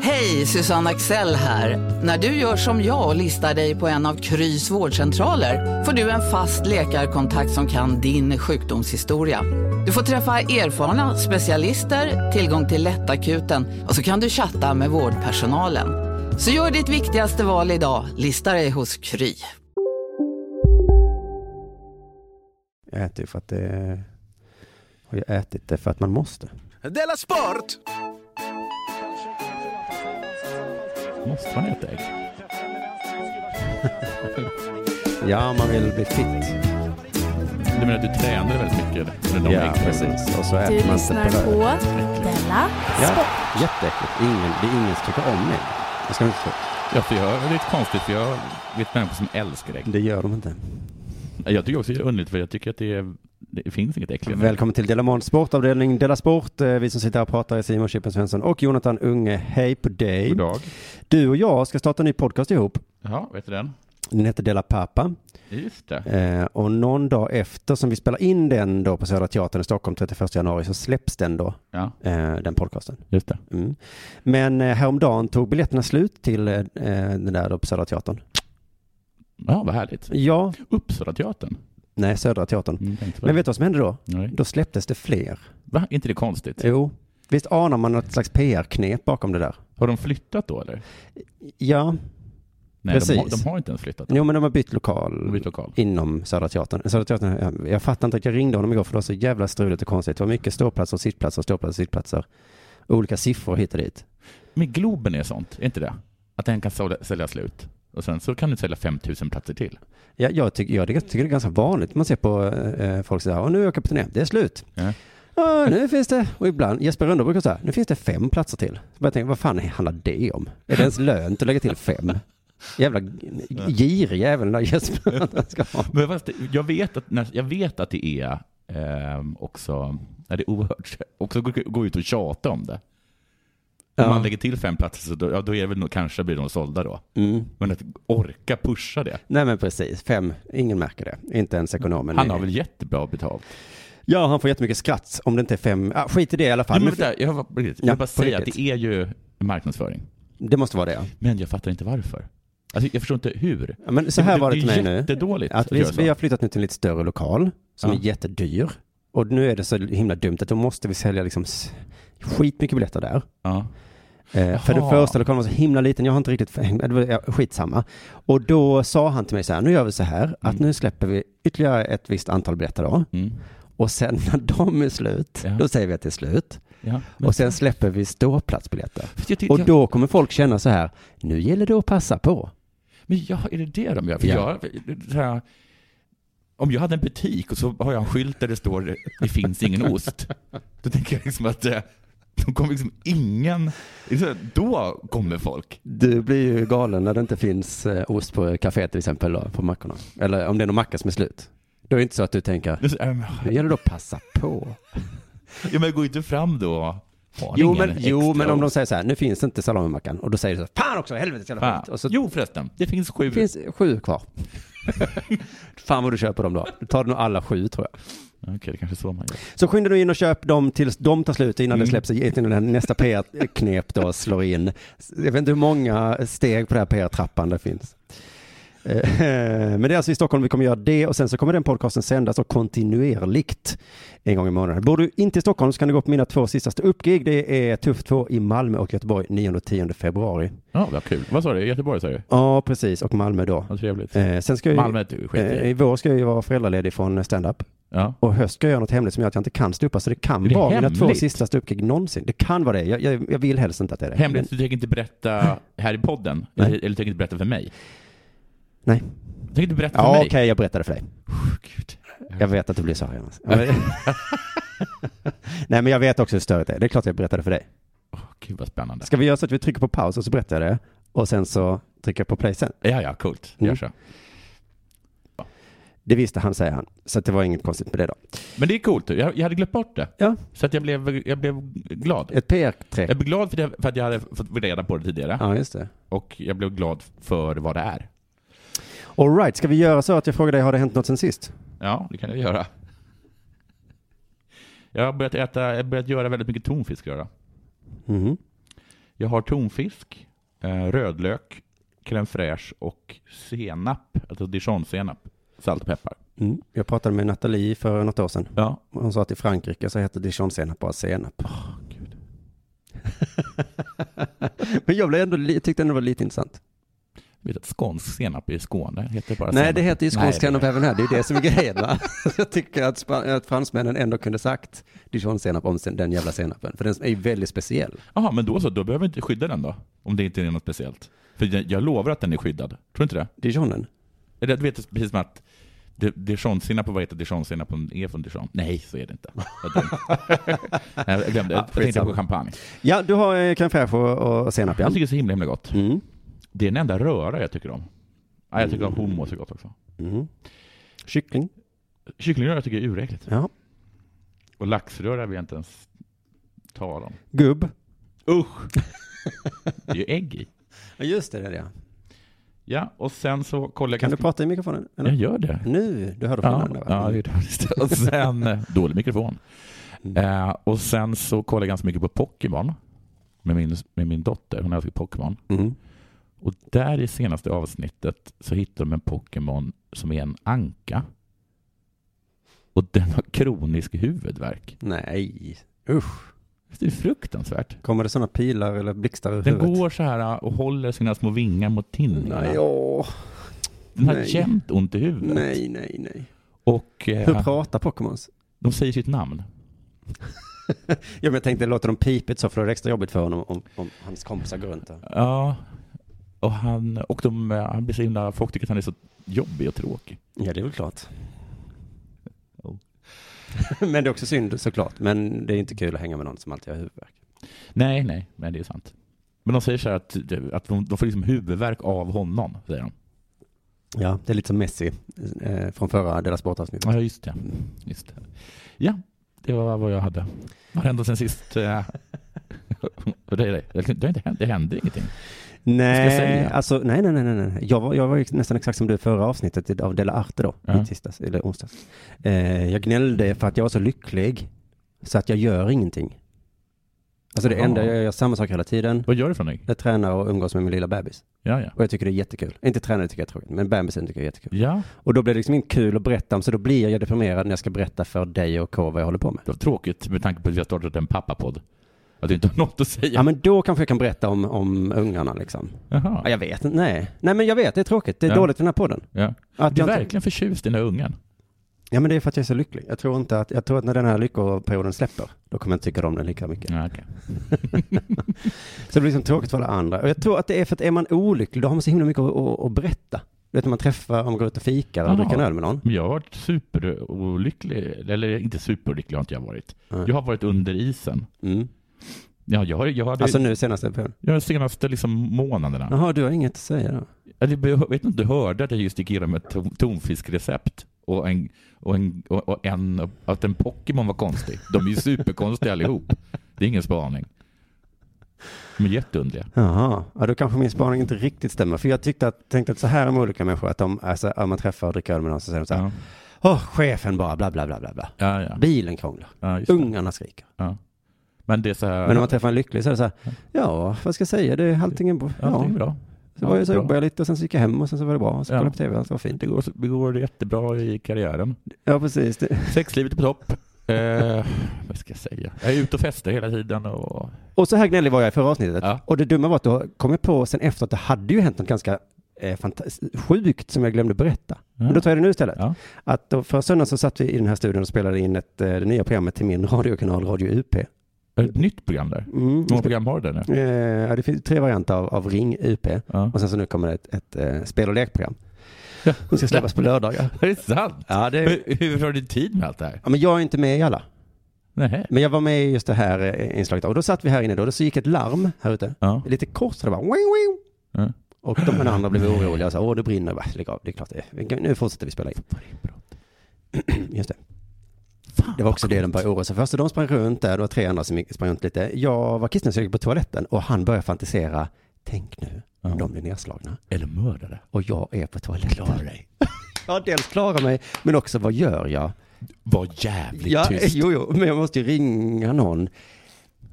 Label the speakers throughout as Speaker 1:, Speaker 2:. Speaker 1: Hej, Susanne Axel här. När du gör som jag och listar dig på en av Krys vårdcentraler får du en fast läkarkontakt som kan din sjukdomshistoria. Du får träffa erfarna specialister, tillgång till lättakuten och så kan du chatta med vårdpersonalen. Så gör ditt viktigaste val idag, listar dig hos Kry.
Speaker 2: Jag äter ju för att det... Har jag ätit det för att man måste.
Speaker 3: Della Sport!
Speaker 4: Måste man äta ägg?
Speaker 2: Ja, man vill bli fit.
Speaker 4: Du menar att du tränar väldigt mycket? Eller de
Speaker 2: Ja,
Speaker 4: äggen?
Speaker 2: precis. Och så
Speaker 5: Du
Speaker 2: äter man inte
Speaker 5: lyssnar
Speaker 2: bröd.
Speaker 5: på Della
Speaker 2: Ja,
Speaker 5: Sport.
Speaker 2: jätteäckligt. Ingen, det är ingen som tycker om ägg. Jag ska inte tro.
Speaker 4: Ja, för jag, det är lite konstigt för jag vet människor som älskar ägg.
Speaker 2: Det gör de inte.
Speaker 4: Jag tycker också det är underligt för jag tycker att det, är, det finns inget äckligare. än ägg.
Speaker 2: Välkommen till Della Måns sportavdelning Della Sport. Eh, Vi som sitter här och pratar är Simon Chippen Svensson och Jonathan Unge. Hej på dig.
Speaker 4: God dag.
Speaker 2: Du och jag ska starta en ny podcast ihop.
Speaker 4: Ja, vet du den?
Speaker 2: Den heter Della Pappa.
Speaker 4: Just det.
Speaker 2: Eh, och någon dag efter som vi spelar in den då på Södra Teatern i Stockholm 31 januari så släpps den då,
Speaker 4: Ja,
Speaker 2: eh, den podcasten.
Speaker 4: just det.
Speaker 2: Mm. Men eh, häromdagen tog biljetterna slut till eh, den där då på Södra Teatern.
Speaker 4: Ja, vad härligt.
Speaker 2: Ja,
Speaker 4: Uppsalateatern.
Speaker 2: nej Södra Teatern.
Speaker 4: Mm, tänkte på
Speaker 2: Men
Speaker 4: det.
Speaker 2: vet du vad som hände då?
Speaker 4: Nej.
Speaker 2: Då släpptes det fler.
Speaker 4: Va? Är inte det konstigt?
Speaker 2: Jo, visst anar man något slags PR-knep bakom det där?
Speaker 4: Har de flyttat då eller?
Speaker 2: Ja,
Speaker 4: Nej, De, har,
Speaker 2: Precis.
Speaker 4: de har inte ens flyttat.
Speaker 2: jo men de har bytt
Speaker 4: De har
Speaker 2: lokal.
Speaker 4: bytt lokal.
Speaker 2: Inom Södra Teatern. Södra Teatern jag, jag fattar inte, jag ringde honom igår för det var så jävla struligt och konstigt. Det var mycket ståplatser och sittplatser, ståplatser och sittplatser. Olika siffror hit och dit.
Speaker 4: Men Globen är sånt, är inte det? Att den kan sålja- sälja slut. Och sen så kan du sälja 5000 platser till.
Speaker 2: Jag, jag, tycker, jag tycker det är ganska vanligt. Man ser på eh, folk säger, "Ja, nu åker jag på turné, det är slut.
Speaker 4: Ja.
Speaker 2: Ja, nu finns det, och ibland, Jesper Rönndahl brukar säga, nu finns det fem platser till. Så börjar jag tänka, vad fan handlar det om? Är det ens lönt att lägga till fem? Jävla girig jävel där Jesper ska ha.
Speaker 4: Men fast, det- jag, vet att, när- jag vet att det är ehm, också, när det är oerhört, också gå, gå ut och tjata om det. Om
Speaker 2: Ja.
Speaker 4: man lägger till fem platser så då, ja, då är det väl nog, kanske blir de sålda då.
Speaker 2: Mm.
Speaker 4: Men att orka pusha det.
Speaker 2: Nej men precis, fem, ingen märker det. Inte ens ekonomen.
Speaker 4: Han har väl jättebra betalt.
Speaker 2: Ja, han får jättemycket skratt om det inte är fem, ah, skit i det i alla fall.
Speaker 4: Jo, men
Speaker 2: Men
Speaker 4: vänta, jag vill bara, jag vill
Speaker 2: Ja,
Speaker 4: bara
Speaker 2: på
Speaker 4: säga att
Speaker 2: riktigt.
Speaker 4: det är ju marknadsföring.
Speaker 2: det måste vara det. ja.
Speaker 4: Men jag fattar inte varför. Alltså, jag förstår inte hur.
Speaker 2: Ja, Men så här var det till mig
Speaker 4: Det är
Speaker 2: nu.
Speaker 4: jättedåligt
Speaker 2: Att vi,
Speaker 4: göra så.
Speaker 2: vi har flyttat nu till en lite större lokal som
Speaker 4: Ja.
Speaker 2: är jättedyr. Och nu är det så himla dumt att då måste vi sälja liksom s- skitmycket biljetter där.
Speaker 4: Ja.
Speaker 2: Eh, för den
Speaker 4: Jaha.
Speaker 2: första lokalen var så himla liten, jag har inte riktigt, hängt- det var- ja, skitsamma. Och då sa han till mig så här, nu gör vi så här, att nu släpper vi ytterligare ett visst antal biljetter då.
Speaker 4: Mm.
Speaker 2: Och sen när de är slut,
Speaker 4: Ja.
Speaker 2: då säger vi att det är slut.
Speaker 4: ja.
Speaker 2: Och sen släpper vi ståplatsbiljetter.
Speaker 4: För jag tyckte-
Speaker 2: Och
Speaker 4: jag-
Speaker 2: då kommer folk känna så här, nu gäller det att passa på.
Speaker 4: Men ja, är det det de gör? För
Speaker 2: Ja.
Speaker 4: jag, så här, om jag hade en butik och så har jag en skylt där det står det finns ingen ost. Då tänker jag liksom att eh, då kommer liksom ingen, liksom, då kommer folk.
Speaker 2: Du blir ju galen när det inte finns eh, ost på kaféet till exempel, då, på mackorna. Eller om det är någon macka som är slut. Då är det inte så att du tänker,
Speaker 4: Det är så, ehm,
Speaker 2: nu gäller det att passa på.
Speaker 4: Ja, men gå inte fram då. Har
Speaker 2: Jo
Speaker 4: ingen
Speaker 2: men, jo,
Speaker 4: extra
Speaker 2: men om de
Speaker 4: ost?
Speaker 2: säger så här, nu finns inte salamimackan. Och då säger du så här, fan också, helvetes jävla
Speaker 4: Fan.
Speaker 2: skit. Och så
Speaker 4: Jo förresten, det finns sju.
Speaker 2: finns sju kvar. fan vad du köper dem då. Du tar nog alla sju tror jag.
Speaker 4: Okej, det kanske är så man gör.
Speaker 2: Så skynda dig in och köp dem tills de tar slut innan
Speaker 4: Mm.
Speaker 2: det släpps, innan den här nästa PR-knep då slår in. Jag vet inte hur många steg på den här PR-trappan det finns. Eh, Men det är alltså i Stockholm vi kommer göra det och sen så kommer den podcasten sändas och kontinuerligt en gång i månaden. Bor du inte i Stockholm så kan du gå på mina två sista ståuppgig. Det är Tuff 2 i Malmö och Göteborg 9 och 10 februari.
Speaker 4: Ja, vad kul. Vad sa du? Göteborg sa du?
Speaker 2: Ja, precis. Och Malmö då.
Speaker 4: Vad trevligt.
Speaker 2: Eh, Sen ska jag, ju-
Speaker 4: Alltså, Malmö du skiter
Speaker 2: eh,
Speaker 4: jag i.
Speaker 2: I vår ska jag ju vara föräldraledig från stand-up.
Speaker 4: Ja.
Speaker 2: Och höst ska jag göra något hemligt som gör att jag inte kan stå Så det kan
Speaker 4: Är det
Speaker 2: vara mina två
Speaker 4: hemligt?
Speaker 2: sista ståuppgig någonsin. Det kan vara det. Jag, jag, jag vill helst inte att det är det.
Speaker 4: Hemligt, du tänker inte berätta här i podden? Eller, eller du tänker inte berätta för mig?
Speaker 2: Men- Nej.
Speaker 4: Tänk du berätta för
Speaker 2: Ja, okej,
Speaker 4: mig.
Speaker 2: jag berättade för dig.
Speaker 4: Gud.
Speaker 2: Jag vet att du blir så arg annars. Ja, men- Nej, men jag vet också hur störigt det är. Det är klart jag berättade för dig.
Speaker 4: Åh, Gud vad spännande.
Speaker 2: Ska vi göra så att vi trycker på paus och så berättar jag det? Och sen så trycker jag på play sen.
Speaker 4: Ja, ja, coolt. Gör
Speaker 2: Mm.
Speaker 4: så.
Speaker 2: Det visste han, säger han. Så att det var inget konstigt med det då.
Speaker 4: Men det är coolt. Jag, jag hade glömt bort det.
Speaker 2: Ja.
Speaker 4: Så att jag blev, jag blev glad.
Speaker 2: Ett PR-trick.
Speaker 4: Jag blev glad för, det, för att jag hade fått reda på det tidigare.
Speaker 2: Ja, just det.
Speaker 4: Och jag blev glad för vad det är.
Speaker 2: All right, ska vi göra så att jag frågar dig, har det hänt något sen sist?
Speaker 4: Ja, det kan jag göra. Jag har börjat, äta, jag har börjat göra väldigt mycket tonfisk. Göra.
Speaker 2: Mhm.
Speaker 4: Jag har tonfisk, eh, rödlök, crème fraîche och senap, alltså dijonsenap, salt och peppar.
Speaker 2: Mm. Jag pratade med Nathalie för något år sedan.
Speaker 4: Ja.
Speaker 2: Hon sa att i Frankrike så heter dijonsenap bara senap.
Speaker 4: Gud.
Speaker 2: Men jag blev ändå, li- tyckte ändå det var lite intressant.
Speaker 4: Jag vet att skånsk senap i Skåne heter bara
Speaker 2: Nej,
Speaker 4: senap.
Speaker 2: det heter ju skånsk
Speaker 4: Nej, det-
Speaker 2: senap även här. Det är ju det som är grejen, va? Jag tycker att, span- att fransmännen ändå kunde sagt dijonsenap om sen- den jävla senapen. För den är ju väldigt speciell.
Speaker 4: Jaha, men då så. Då behöver vi inte skydda den då? Om det inte är något speciellt. För jag, jag lovar att den är skyddad. Tror du inte det?
Speaker 2: Dijonen.
Speaker 4: Eller du vet precis som att di- dijonsenap och vad heter dijonsenap om den är från Dijon? Nej, så är det inte. Vad dumt. Nej, jag glömde. Jag tänkte
Speaker 2: skitsamma.
Speaker 4: på champagne.
Speaker 2: Ja, du har eh, crème fraîche och, och senap, ja.
Speaker 4: Jag tycker det är så himla, himla gott.
Speaker 2: Mm.
Speaker 4: Det är den enda röra jag tycker om. Ja, jag tycker om hummus är gott också.
Speaker 2: Mm. Kyckling.
Speaker 4: Kycklingröra tycker jag är uräckligt.
Speaker 2: Ja.
Speaker 4: Och laxröra vill jag inte ens tala om.
Speaker 2: Gubb.
Speaker 4: Usch! Det är ju ägg i.
Speaker 2: Ja, just det, det är det. ja.
Speaker 4: Ja, och sen så kollar jag...
Speaker 2: Kan du
Speaker 4: ganska-
Speaker 2: prata i mikrofonen? Eller?
Speaker 4: Jag gör det.
Speaker 2: Nu, du hörde
Speaker 4: Ja,
Speaker 2: skillnaden där, va?
Speaker 4: ja, det är det. Och sen, dålig mikrofon.
Speaker 2: Mm.
Speaker 4: Eh, och sen så kollar jag ganska mycket på Pokémon med min, med min dotter. Hon älskar Pokémon.
Speaker 2: Mm.
Speaker 4: Och där i senaste avsnittet så hittar de en Pokémon som är en anka. Och den har kronisk huvudvärk.
Speaker 2: Nej, usch.
Speaker 4: Visst är Det är fruktansvärt.
Speaker 2: Kommer det sådana pilar eller blixtar ur
Speaker 4: Den
Speaker 2: huvudet?
Speaker 4: går så här eh, och håller sina små vingar mot
Speaker 2: Nej,
Speaker 4: tinningarna.
Speaker 2: åh.
Speaker 4: Den har
Speaker 2: nej.
Speaker 4: jämt ont i huvudet.
Speaker 2: nej, nej, nej.
Speaker 4: Och
Speaker 2: Hur
Speaker 4: eh,
Speaker 2: pratar Pokémons?
Speaker 4: de säger sitt namn.
Speaker 2: Ja, men jag tänkte låter de pipigt så för det är extra jobbigt för honom om, om hans kompisar går runt där.
Speaker 4: Ja, och han, och de, han blir så himla, folk tycker att han är så jobbig och tråkig.
Speaker 2: Ja, det är väl klart.
Speaker 4: Oh.
Speaker 2: men det är också synd såklart. Men det är inte kul att hänga med någon som alltid har huvudvärk.
Speaker 4: Nej, nej, nej det är sant. Men de säger så här att, att de, de får liksom huvudvärk av honom, säger de.
Speaker 2: Ja, det är lite som Messi eh, från förra Dela Sport-avsnittet.
Speaker 4: Ja, just det. Just det. Ja, det var vad jag hade. Vad hände sen sist? eh? det, är det. Det, har inte hänt, det hände ingenting. Vad ska jag
Speaker 2: Nej,
Speaker 4: säga?
Speaker 2: alltså, nej, nej, nej, nej, nej. Jag var, jag var ju nästan exakt som du i förra avsnittet i- av Dela Arte då,
Speaker 4: Ja.
Speaker 2: i tisdags, eller onsdags. Eh, jag gnällde för att jag var så lycklig, så att jag gör ingenting. Alltså det
Speaker 4: Ja.
Speaker 2: enda, jag gör samma sak hela tiden.
Speaker 4: Vad gör du för någonting?
Speaker 2: Jag tränar och umgås med min lilla bebis.
Speaker 4: Ja, ja.
Speaker 2: Och jag tycker det är jättekul. Inte träna tycker jag är tråkigt, men bebisen tycker jag är jättekul.
Speaker 4: Ja,
Speaker 2: Och då blir det liksom inte kul att berätta om, så då blir jag deprimerad när jag ska berätta för dig och K vad jag håller på med.
Speaker 4: det var tråkigt med tanke på att vi har startat en pappapodd. Att du inte har något att
Speaker 2: Ja,
Speaker 4: säga.
Speaker 2: men då kanske jag kan berätta om, om ungarna liksom. Ja,
Speaker 4: Jaha.
Speaker 2: jag vet inte, nej. Nej men jag vet, det är tråkigt. Det är
Speaker 4: Ja.
Speaker 2: dåligt för den här podden.
Speaker 4: Ja.
Speaker 2: Att
Speaker 4: Du är
Speaker 2: jag inte-
Speaker 4: verkligen förtjust i den här ungen.
Speaker 2: Ja men det är för att jag är så lycklig. Jag tror inte att, jag tror att när den här lyckoperioden släpper, då kommer jag inte tycka om den lika mycket.
Speaker 4: Ja, okej.
Speaker 2: Så det blir liksom tråkigt för alla andra. Och jag tror att det är för att är man olycklig, då har man så himla mycket att, att, att berätta. Du vet när man träffar, om man går ut och fikar eller
Speaker 4: Ja.
Speaker 2: dricker en öl med någon.
Speaker 4: Men jag har varit superolycklig, eller inte superolycklig har inte jag varit.
Speaker 2: Nej.
Speaker 4: Jag har varit under isen.
Speaker 2: Mm.
Speaker 4: Ja, jag, har- jag hade,
Speaker 2: Alltså nu senaste perioden.
Speaker 4: jag har de senaste liksom månaderna.
Speaker 2: Jaha, du har inget att säga då?
Speaker 4: Eller, jag vet inte om du hörde att jag just gick igenom ett ton- tonfiskrecept och en, och en, och och en, att en Pokémon var konstig. De är ju superkonstiga allihop. Det är ingen spaning. De är jätteunderliga.
Speaker 2: Jaha, ja, då kanske min spaning inte riktigt stämmer. För jag tyckte att, tänkte att så här om olika människor, att de, alltså, om man träffar och dricker öl med någon så säger de så här,
Speaker 4: Ja,
Speaker 2: åh, chefen bara, bla bla bla bla bla.
Speaker 4: ja, ja.
Speaker 2: Bilen krånglar,
Speaker 4: ja just det.
Speaker 2: ungarna skriker.
Speaker 4: Men det är så här...
Speaker 2: Men om man träffar en lycklig så är det så här, ja, vad ska jag säga, det är allting bra.
Speaker 4: ja, det
Speaker 2: Ja,
Speaker 4: är bra.
Speaker 2: så var jag så
Speaker 4: bra.
Speaker 2: jobbade jag lite och sen så gick jag hem och sen så var det bra. Och så
Speaker 4: Ja.
Speaker 2: kollade jag på tv, allt var fint.
Speaker 4: Det går, det går jättebra i karriären.
Speaker 2: Ja, precis. Det.
Speaker 4: Sexlivet är på topp. Eh, vad ska jag säga? Jag är ute och festar hela tiden och...
Speaker 2: Och så här gnällig var jag i förra avsnittet.
Speaker 4: Ja.
Speaker 2: Och det dumma var att då kom jag på sen efter att det hade ju hänt något ganska eh, fantas- sjukt som jag glömde berätta. Men då tar jag det nu istället.
Speaker 4: Ja.
Speaker 2: Att då, förra söndagen så satt vi i den här studion och spelade in ett, eh, det nya programmet till min radiokanal Radio UP.
Speaker 4: Är det Ett nytt program där. Hur
Speaker 2: Mm.
Speaker 4: många program har du där nu?
Speaker 2: Eh, ja, det finns tre varianter av, av Ring UP.
Speaker 4: Ja.
Speaker 2: Och sen så nu kommer det ett, ett eh, spel och lekprogram. De ska släppas på lördagar.
Speaker 4: Är det sant?
Speaker 2: Ja, det är...
Speaker 4: Hur, hur har du tid med allt det här?
Speaker 2: ja, men jag är inte med i alla.
Speaker 4: Nej.
Speaker 2: Men jag var med i just det här eh, inslaget och då satt vi här inne då, och så gick ett larm här ute.
Speaker 4: Ja.
Speaker 2: Lite kort så det bara wing, wing.
Speaker 4: Ja.
Speaker 2: Och de här andra blev oroliga och sa, åh det brinner, Jag bara, lägg av, det är klart det är. Nu fortsätter vi spela in. Just det. Det var också det de började oroa sig för. Först de sprang runt där, det var tre andra som gick- sprang runt lite. Jag var kissnödig på toaletten och han började fantisera, tänk nu om de blir nedslagna
Speaker 4: Eller mördare.
Speaker 2: och jag är på toaletten.
Speaker 4: Klara dig.
Speaker 2: Ja, dels klara mig, men också vad gör jag?
Speaker 4: Var jävligt
Speaker 2: Ja,
Speaker 4: tyst.
Speaker 2: jo, jo, men jag måste ju ringa någon.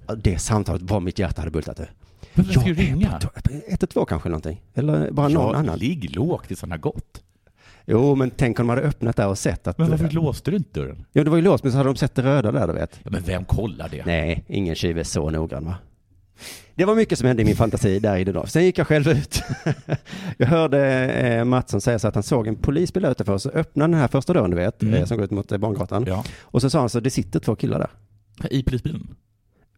Speaker 2: Ja, Det samtalet, var mitt hjärta hade bultat nu.
Speaker 4: Varför ska du
Speaker 2: Jag är
Speaker 4: ringa?
Speaker 2: på to- 112 kanske någonting, eller bara någon
Speaker 4: Ja,
Speaker 2: annan.
Speaker 4: ligg lågt tills han har gått.
Speaker 2: Jo, men tänk om de hade öppnat där och sett att...
Speaker 4: Men varför låste du inte dörren?
Speaker 2: Ja, det var ju låst, men så hade de sett det röda där, du vet.
Speaker 4: Ja, men vem kollar det?
Speaker 2: Nej, ingen tjuv är så noggrann, va? Det var mycket som hände i min fantasi där i det då. Sen gick jag själv ut. jag hörde eh, Mattsson säga så att han såg en polisbil utanför, så öppnade han den här första dörren, du vet,
Speaker 4: Mm.
Speaker 2: eh, som går ut mot eh, barngatan.
Speaker 4: Ja.
Speaker 2: Och så sa han så, det sitter två killar där.
Speaker 4: I polisbilen?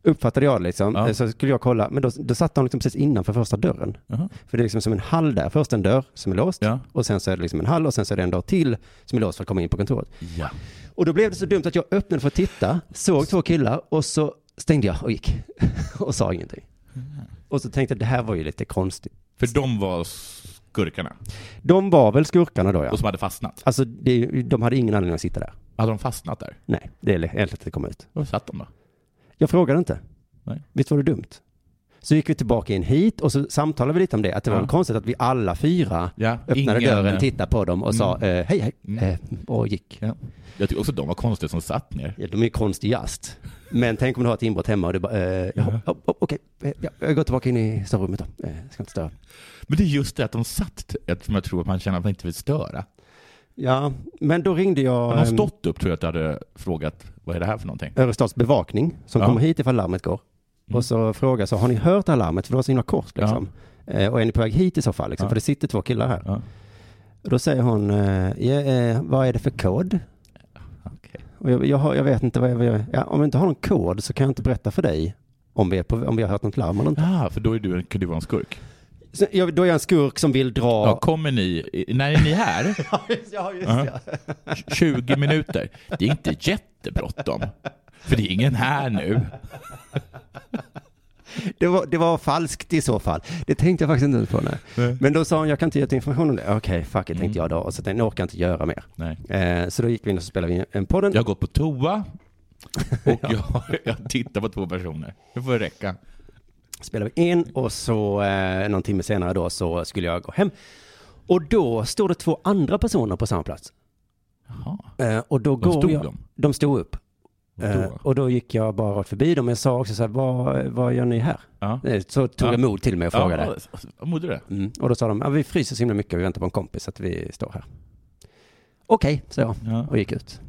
Speaker 2: Uppfattade jag det liksom.
Speaker 4: Ja.
Speaker 2: Eh, Så skulle jag kolla, men då, då satt han liksom precis innanför första dörren.
Speaker 4: Jaha.
Speaker 2: För det är liksom som en hall där. Först en dörr som är låst
Speaker 4: Ja.
Speaker 2: och sen så är det liksom en hall och sen så är det en dörr till som är låst för att komma in på kontoret.
Speaker 4: Ja.
Speaker 2: Och då blev det så dumt att jag öppnade för att titta, såg två killar och så stängde jag och gick och sa ingenting. Och så tänkte jag, det här var ju lite konstigt.
Speaker 4: För de var skurkarna.
Speaker 2: De var väl skurkarna då ja.
Speaker 4: Och som hade fastnat.
Speaker 2: Alltså det, är ju- de hade ingen anledning att sitta där.
Speaker 4: Hade de fastnat där?
Speaker 2: Nej, det är egentligen att det kom ut.
Speaker 4: Var satt de då?
Speaker 2: Jag frågade inte.
Speaker 4: Nej.
Speaker 2: Visst var det dumt? Så gick vi tillbaka in hit och så samtalade vi lite om det, att det var
Speaker 4: Ja.
Speaker 2: väl konstigt att vi alla fyra
Speaker 4: Ja,
Speaker 2: öppnade
Speaker 4: ingen-
Speaker 2: dörren, tittade på dem och sa eh, hej hej
Speaker 4: Mm.
Speaker 2: eh, och gick.
Speaker 4: Ja. Jag tycker också att de var konstiga som satt ner.
Speaker 2: Ja, de är ju konstigast. Men tänk om du har ett inbrott hemma och du bara, eh, ja, ja. ja, okej, eh, ja, jag går tillbaka in i sovrummet då. Eh, ska inte störa.
Speaker 4: Men det är just det att de satt, eftersom jag tror att man känner att man inte vill störa.
Speaker 2: Ja, men då ringde
Speaker 4: Hade de
Speaker 2: jag eh,
Speaker 4: stått upp tror jag att du hade frågat vad är det här för någonting?
Speaker 2: Örestads bevakning som
Speaker 4: Ja. Mm.
Speaker 2: kommer hit ifall larmet går. Och så frågade så har ni hört alarmet? För det var så himla kort liksom. Eh, och är ni på väg hit i så fall? Liksom?
Speaker 4: Ja.
Speaker 2: För det sitter två killar här.
Speaker 4: Ja.
Speaker 2: Och då säger hon, eh, ja, eh, vad är det för kod?
Speaker 4: Okej.
Speaker 2: Och jag, jag, har- jag vet inte vad jag, vad jag ja, Om jag inte har någon kod så kan jag inte berätta för dig om vi, är på, om vi har hört något larm eller inte.
Speaker 4: Ja, för då är du, en- kan du vara en skurk.
Speaker 2: Så jag, då är jag en skurk som vill dra...
Speaker 4: Ja, kommer ni, i- när är ni här?
Speaker 2: ja, just
Speaker 4: Ja.
Speaker 2: det.
Speaker 4: 20 minuter. Det är inte jättebråttom. För det är ingen här nu.
Speaker 2: Det var, det var falskt i så fall. Det tänkte jag faktiskt inte på. Nej.
Speaker 4: Nej. Mm.
Speaker 2: Men då sa hon, jag kan inte ge dig information om det. Okej, fuck it, tänkte jag då. Och så tänkte jag, nu orkar jag inte göra mer.
Speaker 4: Nej.
Speaker 2: Eh, så då gick vi in och så spelade vi en podden.
Speaker 4: Jag har gått på toa och jag, jag tittar på två personer. Det får räcka.
Speaker 2: spelade vi in och så eh, någon timme senare då så skulle jag gå hem. Och då stod det två andra personer på samma plats.
Speaker 4: Jaha.
Speaker 2: Eh, och då går
Speaker 4: stod
Speaker 2: jag,
Speaker 4: de?
Speaker 2: De stod upp.
Speaker 4: då?
Speaker 2: Eh, och då gick jag bara rakt förbi dem. Jag sa också så här, vad, vad gör ni här?
Speaker 4: Ja.
Speaker 2: Eh, Så tog
Speaker 4: Ja.
Speaker 2: jag mod till mig och frågade.
Speaker 4: Ja, vad mådde du? det?
Speaker 2: Mm. Och då sa de, ja, vi fryser så himla mycket, vi väntar på en kompis så att vi står här. Okej, sa jag
Speaker 4: Ja.
Speaker 2: och gick ut.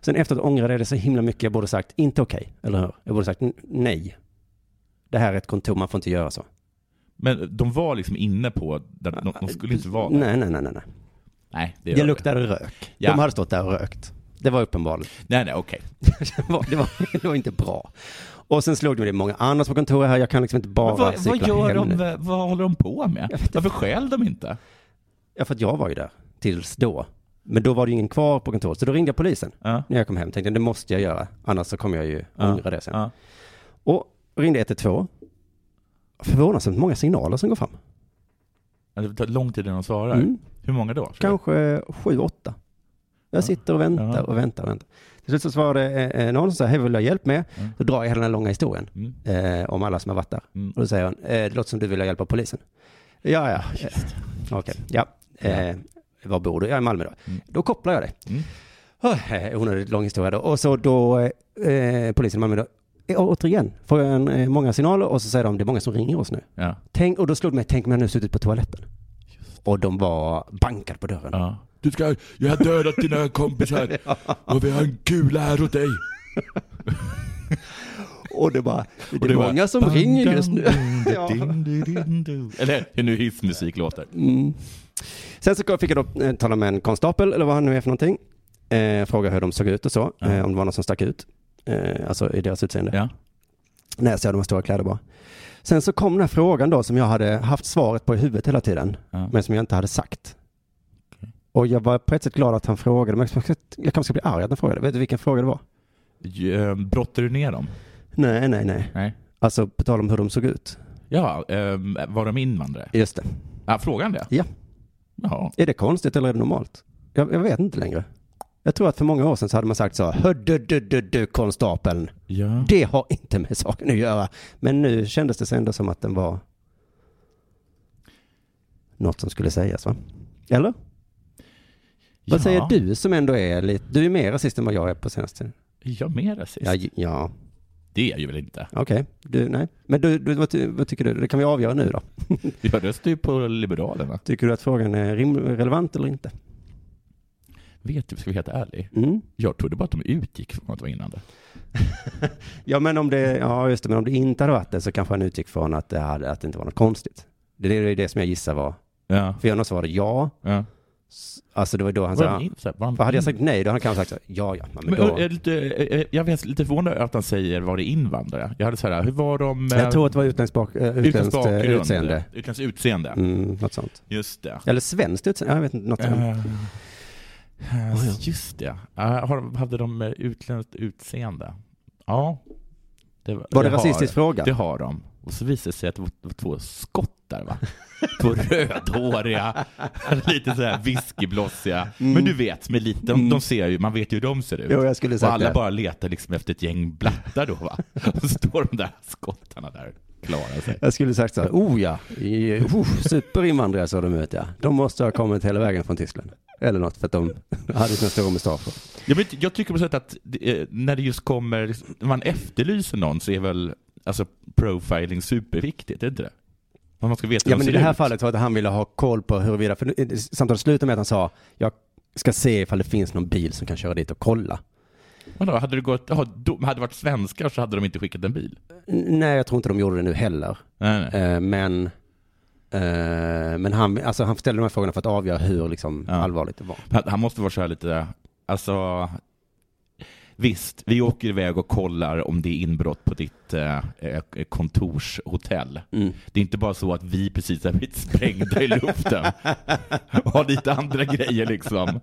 Speaker 2: Sen efteråt ångrade jag det så himla mycket, jag borde sagt inte okej, eller hur? Jag borde sagt "N- nej. Det här är ett kontor, man får inte göra så.
Speaker 4: Men de var liksom inne på, där, de, de skulle inte vara där.
Speaker 2: Nej, nej, nej, nej. nej.
Speaker 4: Nej, det,
Speaker 2: Det,
Speaker 4: gör
Speaker 2: luktade rök.
Speaker 4: Ja.
Speaker 2: De hade stått där och rökt. Det var uppenbarligen.
Speaker 4: Nej, nej, okej.
Speaker 2: Det var, det var, det var inte bra. Och sen slog det mig, det är många andra på kontoret här, jag kan liksom inte bara
Speaker 4: Men Vad,
Speaker 2: cykla
Speaker 4: vad gör
Speaker 2: hem
Speaker 4: de,
Speaker 2: nu.
Speaker 4: vad håller de på med? Varför skäl de inte?
Speaker 2: Ja, för att jag var ju där tills då. Men då var det ju ingen kvar på kontoret, så då ringde jag polisen
Speaker 4: Ja.
Speaker 2: när jag kom hem. Tänkte det måste jag göra, annars så kommer jag ju ångra det sen.
Speaker 4: Ja.
Speaker 2: Och ringde 112. Förvånansvärt många signaler som går fram.
Speaker 4: Ja, Det tar lång tid innan de svarar.
Speaker 2: Mm.
Speaker 4: Hur många då?
Speaker 2: Kanske sju, åtta. Jag sitter och väntar
Speaker 4: Ja.
Speaker 2: och väntar och väntar. Till slut så svarade eh, eh, någon som sa, hej vill du ha hjälp med?
Speaker 4: Mm.
Speaker 2: Då drar jag hela den här långa historien
Speaker 4: Mm.
Speaker 2: eh, om alla som har varit där.
Speaker 4: Mm.
Speaker 2: Och då säger hon, eh, det låter som du vill ha hjälp av polisen. Ja,
Speaker 4: Ah,
Speaker 2: ja. Eh, Okej, ja. Eh, var bor du? Jag är i Malmö då. Då kopplar jag det.
Speaker 4: Mm.
Speaker 2: Oh, eh, onödigt lång historia då. Och så då, eh, polisen i Malmö då, eh, återigen, får jag en, eh, många signaler och så säger de, det är många som ringer oss nu.
Speaker 4: Ja.
Speaker 2: Tänk, och då slog det mig, tänk om jag nu suttit på toaletten. Och de var bankade på dörren.
Speaker 4: Ja. Du ska, jag har dödat dina kompisar och vi har en kula här åt dig.
Speaker 2: Och det bara, det,
Speaker 4: Och
Speaker 2: är
Speaker 4: bara,
Speaker 2: många som
Speaker 4: dun,
Speaker 2: ringer
Speaker 4: dun,
Speaker 2: just nu.
Speaker 4: dun,
Speaker 2: Ja.
Speaker 4: dun, dun, dun, dun. Eller hur nu hissmusik låter.
Speaker 2: mm. Sen så fick jag då eh, tala med en konstapel, eller vad han nu är för någonting. Eh, fråga hur de såg ut och så, eh, om det var någon som stack ut. Eh, alltså i deras utseende.
Speaker 4: Ja.
Speaker 2: Näsa och de har stora kläder bara. Sen så kom den här frågan då som jag hade haft svaret på i huvudet hela tiden,
Speaker 4: Ja.
Speaker 2: men som jag inte hade sagt. Och jag var på ett sätt glad att han frågade, men jag kanske ska bli arg att han frågade. Vet du vilken fråga det var?
Speaker 4: Eh, Brottar du ner dem?
Speaker 2: Nej, nej, nej.
Speaker 4: Nej.
Speaker 2: Alltså på tal om hur de såg ut.
Speaker 4: Ja, ehm, var de invandrare?
Speaker 2: Just det.
Speaker 4: Ja, frågan det?
Speaker 2: Ja.
Speaker 4: Jaha.
Speaker 2: Är det konstigt eller är det normalt? Jag, jag vet inte längre. Jag tror att för många år sedan så hade man sagt så, "Hö, du, du, du, du konstapeln.
Speaker 4: Ja.
Speaker 2: Det har inte med saken att göra. Men nu kändes det ändå som att den var något som skulle sägas va? Eller? Vad säger du som ändå är lite, du är mer rasist än vad jag är på senaste tiden.
Speaker 4: Jag mer rasist?
Speaker 2: Ja, j- ja
Speaker 4: Det är jag ju väl inte?
Speaker 2: okej. Du, nej. Men du, du, vad, ty- vad tycker du? Det kan vi avgöra nu då.
Speaker 4: Jag röstar ju på Liberalerna.
Speaker 2: Tycker du att frågan är rim, relevant eller inte?
Speaker 4: Vet du, ska vi vara helt ärlig?
Speaker 2: Mm.
Speaker 4: Jag trodde bara att de utgick från att de var invandrare.
Speaker 2: Ja, men om det, ja, just det, men om det inte hade varit det så kanske han utgick från att det, hade, att det inte var något konstigt. Det är det, det som jag gissar var.
Speaker 4: Ja.
Speaker 2: För jag svarade ja.
Speaker 4: ja.
Speaker 2: Alltså det var då han
Speaker 4: Var de
Speaker 2: sa,
Speaker 4: in, så här, var de
Speaker 2: för hade jag
Speaker 4: in-
Speaker 2: sagt nej då hade han kanske sagt så, här, ja, ja, men
Speaker 4: Men,
Speaker 2: då.
Speaker 4: jag, är lite, eh, jag är lite förvånad över att han säger var det invandrare. Jag hade så här, hur var de? eh,
Speaker 2: Jag tror att det var utländsk bak, eh, utländskt eh,
Speaker 4: bakgrund?
Speaker 2: utseende.
Speaker 4: Utländskt utseende.
Speaker 2: Mm, något sånt.
Speaker 4: Just det.
Speaker 2: Eller svenskt utseende, ja, jag vet inte, något sånt.
Speaker 4: Eh, eh, Just det. Eh, har de- Hade de eh, utländskt utseende? Ja. Det,
Speaker 2: Var det
Speaker 4: har-
Speaker 2: rasistisk fråga?
Speaker 4: Det har de. Och så visade det sig att det var- det var två skottar, va? Två rödhåriga, lite så här whiskyblossiga. Men du vet, med lite, de, de ser ju, man vet ju hur de ser ut.
Speaker 2: Mm. Jo, jag skulle
Speaker 4: och
Speaker 2: sagt
Speaker 4: alla
Speaker 2: det.
Speaker 4: bara letar liksom efter ett gäng blattar då, va? Och så står de där skottarna där klarar sig.
Speaker 2: Jag skulle sagt så här, oh ja, i- oh, superinvandrare såg de ut ja. De måste ha kommit hela vägen från Tyskland. Eller något, för att de hade sina stora mustascher.
Speaker 4: Jag, vet, inte, jag tycker på sätt att det, eh, när det just kommer, liksom, när man efterlyser någon så är väl alltså, profiling superviktigt, är det inte det? Om Man ska veta hur
Speaker 2: Ja,
Speaker 4: de
Speaker 2: men i
Speaker 4: ser
Speaker 2: det här
Speaker 4: ut.
Speaker 2: fallet var det att han ville ha koll på huruvida, för nu- eh, samtalet slutade med att han sa, jag ska se ifall det finns någon bil som kan köra dit och kolla.
Speaker 4: Vadå, hade det gått, aha, de, hade det varit svenskar så hade de inte skickat en bil.
Speaker 2: N- Nej, jag tror inte de gjorde det nu heller.
Speaker 4: Nej, nej.
Speaker 2: Eh, men eh, men han, alltså, han ställde de här frågorna för att avgöra hur liksom,
Speaker 4: Ja.
Speaker 2: allvarligt det var.
Speaker 4: Han, han måste vara så här lite, alltså Visst, vi åker iväg och kollar om det är inbrott på ditt eh, eh, kontorshotell.
Speaker 2: Mm.
Speaker 4: Det är inte bara så att vi precis har blivit sprängda i luften och har lite andra grejer liksom.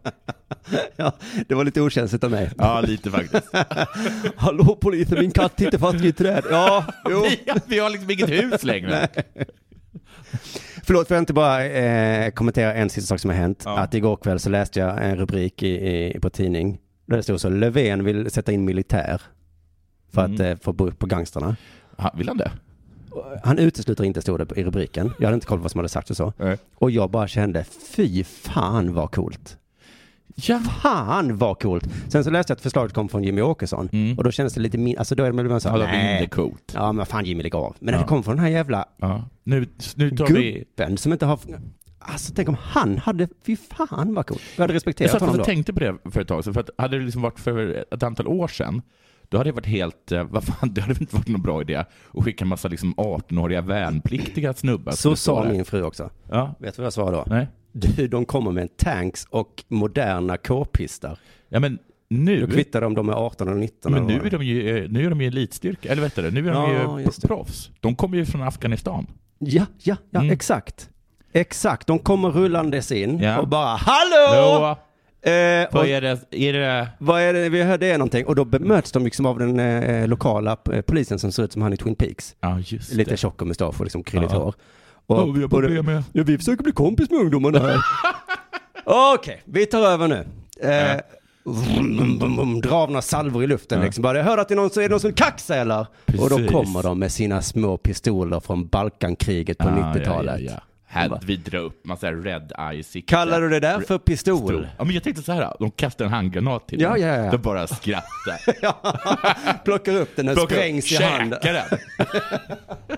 Speaker 2: Ja, det var lite okänsligt av mig.
Speaker 4: Ja, lite faktiskt.
Speaker 2: Hallå polisen, min katt sitter fast i ett träd. Ja, jo.
Speaker 4: Vi, vi har liksom inget hus längre.
Speaker 2: Förlåt, får jag inte bara eh, kommentera en sista sak som har hänt?
Speaker 4: Ja.
Speaker 2: Att igår kväll så läste jag en rubrik i, i, på tidning där det stod så Löfven vill sätta in militär för
Speaker 4: Mm.
Speaker 2: att eh, få bukt på gangsterna.
Speaker 4: Han, vill han det?
Speaker 2: Han utesluter inte, stod det i rubriken. Jag hade inte koll på vad som hade sagts och så.
Speaker 4: Nej.
Speaker 2: Och jag bara kände, fy fan vad coolt.
Speaker 4: Ja.
Speaker 2: Fan vad coolt. Sen så läste jag att förslaget kom från Jimmy Åkesson.
Speaker 4: Mm.
Speaker 2: Och då kändes det lite min... Alltså då är det väl så här,
Speaker 4: Ja, det var
Speaker 2: nej.
Speaker 4: mindre coolt.
Speaker 2: Ja, men fan Jimmy, lägg av. Men när det kom från den här jävla
Speaker 4: Ja. Nu, nu tar vi...
Speaker 2: gubben som inte har... Alltså tänk om han hade, fy fan vad coolt. Jag hade
Speaker 4: Jag
Speaker 2: respekterat
Speaker 4: satt
Speaker 2: honom
Speaker 4: faktiskt
Speaker 2: då.
Speaker 4: och tänkte på det för ett tag sedan, för att hade det liksom varit för ett antal år sedan, då hade det varit helt, eh, vad fan, det hade väl inte varit någon bra idé att skicka en massa liksom 18-åriga värnpliktiga snubbar. som
Speaker 2: Så sa
Speaker 4: står
Speaker 2: min fru också.
Speaker 4: där. Ja,
Speaker 2: Vet du vad jag svarade då?
Speaker 4: nej.
Speaker 2: Du, de kommer med en tanks och moderna k-pistar.
Speaker 4: Ja men
Speaker 2: Då
Speaker 4: nu,
Speaker 2: kvittar de om de är 18 eller 19
Speaker 4: men
Speaker 2: eller
Speaker 4: nu
Speaker 2: vad
Speaker 4: är de ju, eh, nu är de ju elitstyrka, eller vet du, nu är de
Speaker 2: Ja,
Speaker 4: ju
Speaker 2: just det.
Speaker 4: proffs. De kommer ju från Afghanistan.
Speaker 2: Ja, ja, ja,
Speaker 4: Mm.
Speaker 2: exakt. Exakt, de kommer rullandes in
Speaker 4: Ja.
Speaker 2: och bara hallå!
Speaker 4: Då,
Speaker 2: Eh, och,
Speaker 4: vad är det, är det
Speaker 2: vad är det, vi hörde är någonting och då bemöts de liksom av den eh, lokala eh, polisen som ser ut som han i Twin Peaks.
Speaker 4: Ja, just
Speaker 2: Lite
Speaker 4: det.
Speaker 2: tjock och mustasch och liksom krulligt
Speaker 4: Ja.
Speaker 2: hår.
Speaker 4: Ja, vi har
Speaker 2: det-
Speaker 4: problem med...
Speaker 2: Ja, vi försöker bli kompis med ungdomarna här. Okej, vi tar över nu. Eh, vrum, vrum, vrum, vrum, Dra av några salvor i luften liksom. Bara, jag hör att det är någon som, är det någon som kaxar eller? Och då
Speaker 4: Precis.
Speaker 2: kommer de med sina små pistoler från Balkankriget på
Speaker 4: Ah,
Speaker 2: 90-talet.
Speaker 4: Ja, ja, ja. Här, vi drar upp massa red eye sikte.
Speaker 2: Kallar du det där för pistol?
Speaker 4: Ja, men jag tänkte så här, de kastar en handgranat till
Speaker 2: Ja,
Speaker 4: den.
Speaker 2: ja, ja.
Speaker 4: De bara skrattar.
Speaker 2: Ja, plockar upp den och
Speaker 4: Plocka upp,
Speaker 2: sprängs i
Speaker 4: käka
Speaker 2: handen.
Speaker 4: den.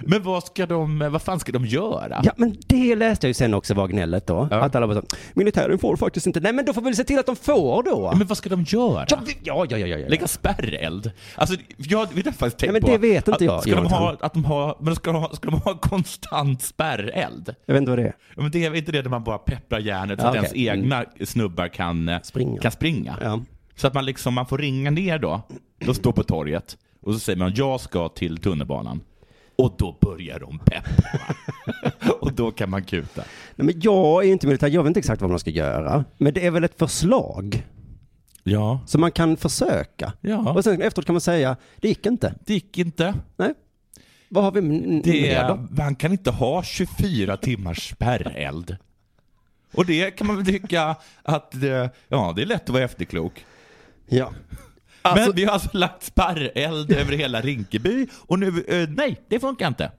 Speaker 4: Men vad ska de, vad fan ska de göra?
Speaker 2: Ja, men det läste jag ju sen också var gnället då. Att alla bara så, militären får faktiskt inte. Nej, men då får vi väl se till att de får då.
Speaker 4: Ja, Men vad ska de göra?
Speaker 2: Ja, vi- ja, ja, ja, ja. ja.
Speaker 4: Lägga spärreld? Alltså, jag vet inte faktiskt tänkt
Speaker 2: men
Speaker 4: på.
Speaker 2: det vet inte
Speaker 4: att,
Speaker 2: jag,
Speaker 4: Ska de ha,
Speaker 2: Jonathan.
Speaker 4: att de har, men ska de ha, ska de ha konstant spärreld?
Speaker 2: Jag vet inte vad det är.
Speaker 4: Ja, men det är väl inte det där man bara pepprar järnet så
Speaker 2: Ja,
Speaker 4: att
Speaker 2: okej. Mm.
Speaker 4: ens egna snubbar kan eh,
Speaker 2: Springa.
Speaker 4: Kan springa.
Speaker 2: Ja.
Speaker 4: Så att man liksom, man får ringa ner då, då står på torget och så säger man jag ska till tunnelbanan. Och då börjar de peppa. och då kan man kuta.
Speaker 2: Nej, men jag är ju inte militär, jag vet inte exakt vad man ska göra. Men det är väl ett förslag
Speaker 4: Ja.
Speaker 2: som man kan försöka.
Speaker 4: Ja.
Speaker 2: Och sen efteråt kan man säga, det gick inte.
Speaker 4: Det gick inte.
Speaker 2: Nej. Vad har vi m-
Speaker 4: Det
Speaker 2: mer
Speaker 4: är,
Speaker 2: då?
Speaker 4: man kan inte ha 24 timmars spärreld. Och det kan man väl tycka att eh, ja, det är lätt att vara efterklok.
Speaker 2: Ja. Alltså-
Speaker 4: Men vi har alltså lagt spärreld över hela Rinkeby och nu, eh, nej, det funkar inte.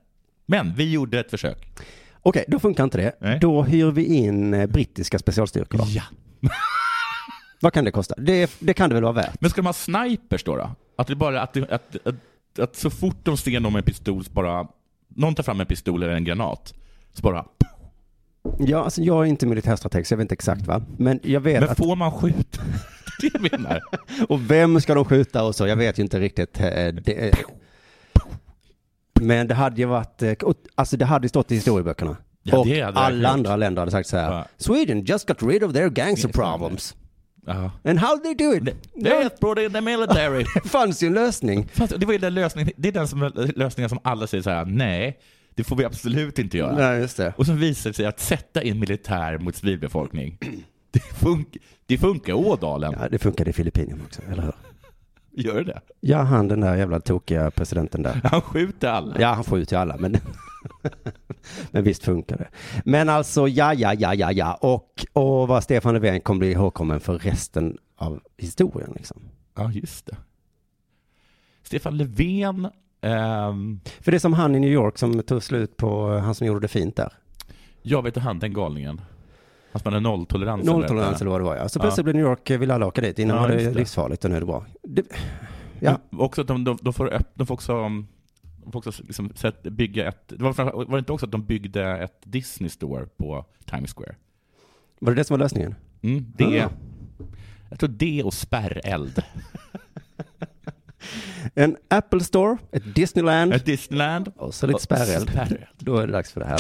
Speaker 4: Men vi gjorde ett försök.
Speaker 2: Okej, då funkar inte det.
Speaker 4: Nej.
Speaker 2: Då hyr vi in eh, brittiska specialstyrkor. va?
Speaker 4: Ja.
Speaker 2: Vad kan det kosta? Det, det kan det väl vara värt?
Speaker 4: Men ska de ha snipers då? då? Att, det bara, att, att, att, att så fort de ser någon med en pistol, så bara, någon tar fram en pistol eller en granat, så bara...
Speaker 2: Ja, alltså jag är inte militärstrateg så jag vet inte exakt va. Men jag vet
Speaker 4: Men
Speaker 2: att,
Speaker 4: får man skjuta? Det är det jag menar.
Speaker 2: och vem ska de skjuta och så, jag vet ju inte riktigt. eh, Det, eh. men det hade ju varit, eh, och, alltså det hade ju stått i historieböckerna.
Speaker 4: Ja,
Speaker 2: och
Speaker 4: det hade jag
Speaker 2: alla
Speaker 4: gjort.
Speaker 2: andra länder hade sagt så här,
Speaker 4: Ja.
Speaker 2: Sweden just got rid of their gangster problems.
Speaker 4: Ja.
Speaker 2: And how they do it? Ja,
Speaker 4: Death brought in the military.
Speaker 2: det fanns ju en lösning.
Speaker 4: Fast det var ju den lösningen, det är den som, lösningen som alla säger så här: nej, det får vi absolut inte göra.
Speaker 2: Nej, just det.
Speaker 4: Och så visar det sig att sätta in militär mot civilbefolkning, det, fun- det funkar i Ådalen.
Speaker 2: Ja, det funkade i Filippinerna också, eller hur?
Speaker 4: Gör det?
Speaker 2: Ja, han den där jävla tokiga presidenten där.
Speaker 4: Han skjuter alla.
Speaker 2: Ja, han får ut till alla, men, men visst funkar det. Men alltså, ja, ja, ja, ja, ja. Och, och vad Stefan Löfven kommer bli ihågkommen för resten av historien. Liksom.
Speaker 4: Ja, just det. Stefan Löfven, ehm,
Speaker 2: För det är som han i New York som tog slut på, eh, han som gjorde det fint där.
Speaker 4: jag vet inte han den galningen. Fast man är nolltolerans.
Speaker 2: Nolltolerans eller vad det var, ja. Så plötsligt blev New York, eh, ville alla åka dit. Innan
Speaker 4: Ja,
Speaker 2: var det
Speaker 4: just det.
Speaker 2: livsfarligt och nu är det bra. Det,
Speaker 4: Ja.
Speaker 2: ja.
Speaker 4: Också att de, de, de, får, öpp- de får också, um, de får också liksom sätt, bygga ett... Det var, framför- var det inte också att de byggde ett Disney Store på Times Square?
Speaker 2: Var det det som var lösningen?
Speaker 4: Mm, det,
Speaker 2: Ah.
Speaker 4: Jag tror det och spärreld.
Speaker 2: En Apple Store, ett Disneyland
Speaker 4: Ett Äh, Disneyland.
Speaker 2: och så lite spärreld.
Speaker 4: Spärreld.
Speaker 2: Då är det dags för det här.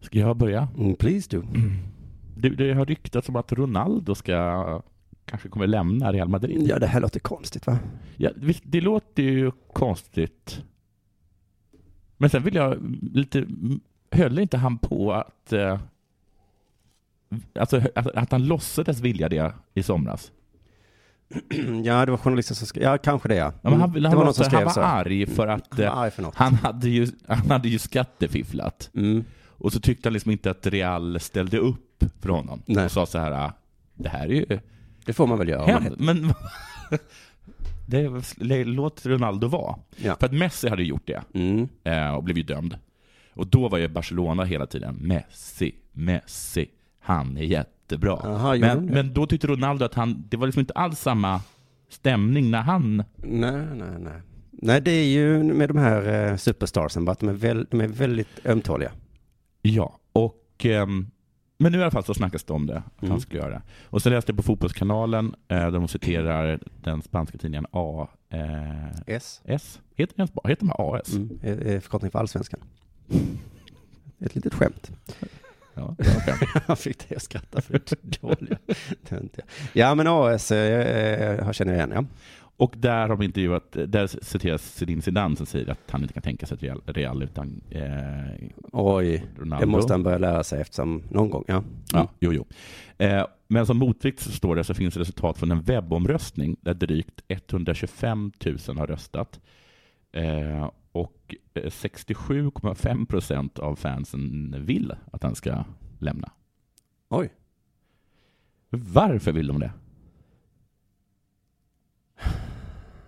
Speaker 4: Ska jag börja?
Speaker 2: Mm, please do.
Speaker 4: Det, det har ryktats om att Ronaldo ska kanske kommer lämna Real Madrid.
Speaker 2: Ja, det här låter konstigt va?
Speaker 4: Ja, visst, det låter ju konstigt. Men sen vill jag lite... Höll inte han på att... Eh, alltså att, att han låtsades vilja det i somras?
Speaker 2: Ja, det var journalisten som skrev. Ja, kanske det ja.
Speaker 4: Mm. Ja, men han,
Speaker 2: Mm,
Speaker 4: han,
Speaker 2: det var
Speaker 4: var
Speaker 2: någon som skrev
Speaker 4: han var
Speaker 2: så. Mm.
Speaker 4: arg för att
Speaker 2: Han
Speaker 4: eh,
Speaker 2: var arg för något.
Speaker 4: han, hade ju, han hade ju skattefifflat.
Speaker 2: Mm.
Speaker 4: Och så tyckte han liksom inte att Real ställde upp för honom.
Speaker 2: Nej.
Speaker 4: Och sa så här, "Ah, det här är ju
Speaker 2: Det får man väl göra. om man
Speaker 4: hemskt.
Speaker 2: heter-
Speaker 4: Men det, det, låt Ronaldo vara.
Speaker 2: Ja.
Speaker 4: För att Messi hade ju gjort det.
Speaker 2: Mm.
Speaker 4: eh, och blev ju dömd. Och då var ju Barcelona hela tiden Messi, Messi, han är jättebra.
Speaker 2: Aha, gjorde
Speaker 4: men,
Speaker 2: de det?
Speaker 4: men då tyckte Ronaldo att han, det var liksom inte alls samma stämning när han...
Speaker 2: Nej, nej, nej. Nej, det är ju med de här eh, superstarsen, bara att de är, väl, de är väldigt ömtåliga.
Speaker 4: Ja, och... ehm, men nu i alla fall så snackas det om det, att
Speaker 2: Mm.
Speaker 4: han skulle göra det. Och så läste jag på Fotbollskanalen, eh, där de citerar den spanska tidningen AS. Eh,
Speaker 2: S.
Speaker 4: S? heter den bara- heter de AS?
Speaker 2: Mm. Är- är Förkortning för allsvenskan. Ett litet skämt.
Speaker 4: Ja, det var skönt.
Speaker 2: Jag fick det att skratta för det är så dåliga töntiga. Ja, men AS eh, eh, känner jag igen, ja.
Speaker 4: Och där har de intervjuat, där citeras Zinedine Zidane som säger att han inte kan tänka sig ett Real, real utan eh,
Speaker 2: Oj,
Speaker 4: Ronaldo.
Speaker 2: det måste han börja lära sig eftersom någon gång, ja. Mm.
Speaker 4: Ja, jo, jo. Eh, men som motvikt så står det så finns det resultat från en webbomröstning där drygt 125 000 har röstat. Eh, och eh, 67,5 procent av fansen vill att han ska lämna.
Speaker 2: Oj.
Speaker 4: Varför vill de det?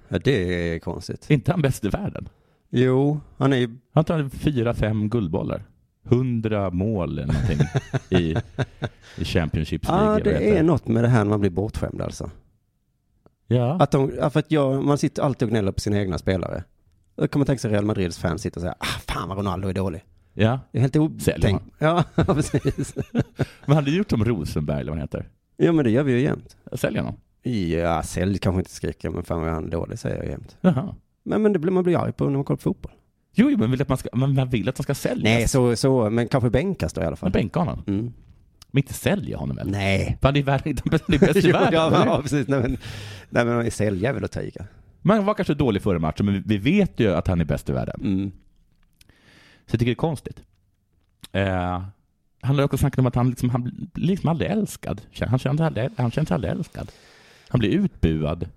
Speaker 2: Ja, det är konstigt.
Speaker 4: Är inte han bäst i världen?
Speaker 2: Jo, han är ju
Speaker 4: Han tar fyra, fem guldbollar. 100 mål eller någonting i, i Championships
Speaker 2: Ja,
Speaker 4: League. eller vad
Speaker 2: det
Speaker 4: heter
Speaker 2: är något med det här när man blir bortskämd alltså.
Speaker 4: Ja.
Speaker 2: Att de, ja, för att jag, man sitter alltid och gnäller på sina egna spelare. Då kan man tänka sig Real Madrids fans sitter och säger, ah, fan vad Ronaldo är dålig.
Speaker 4: ja.
Speaker 2: Det är helt
Speaker 4: Säljer
Speaker 2: otänkt.
Speaker 4: man.
Speaker 2: Ja, precis.
Speaker 4: Men han hade gjort som Rosenberg eller vad han heter.
Speaker 2: Ja, men det gör vi ju jämt.
Speaker 4: Säljer honom.
Speaker 2: Ja, sälj kanske inte skriker, men fan vad han är dålig säger jag jämt.
Speaker 4: Jaha.
Speaker 2: Men, men det blir, man blir arg på när man kollar på fotboll.
Speaker 4: Jo, jo, men vill att man ska, men man vill att de ska sälja.
Speaker 2: Nej, så, så, men kanske bänkas då i alla
Speaker 4: Men
Speaker 2: fall.
Speaker 4: bänka honom.
Speaker 2: Mm.
Speaker 4: Men inte säljer honom väl?
Speaker 2: Nej.
Speaker 4: För han är värd- han är bäst i
Speaker 2: Jo,
Speaker 4: världen.
Speaker 2: ja,
Speaker 4: eller?
Speaker 2: ja, precis. Nej, men, nej, men i sälja är väl att ta i. kanske.
Speaker 4: Men han var kanske dålig före matchen, men vi vet ju att han är bäst i världen.
Speaker 2: Mm.
Speaker 4: Så jag tycker det är konstigt. Eh, han har också snackat om att han liksom, han blir liksom aldrig älskad. Kän- Han känner sig aldrig, han känner sig aldrig älskad. Han blir utbuad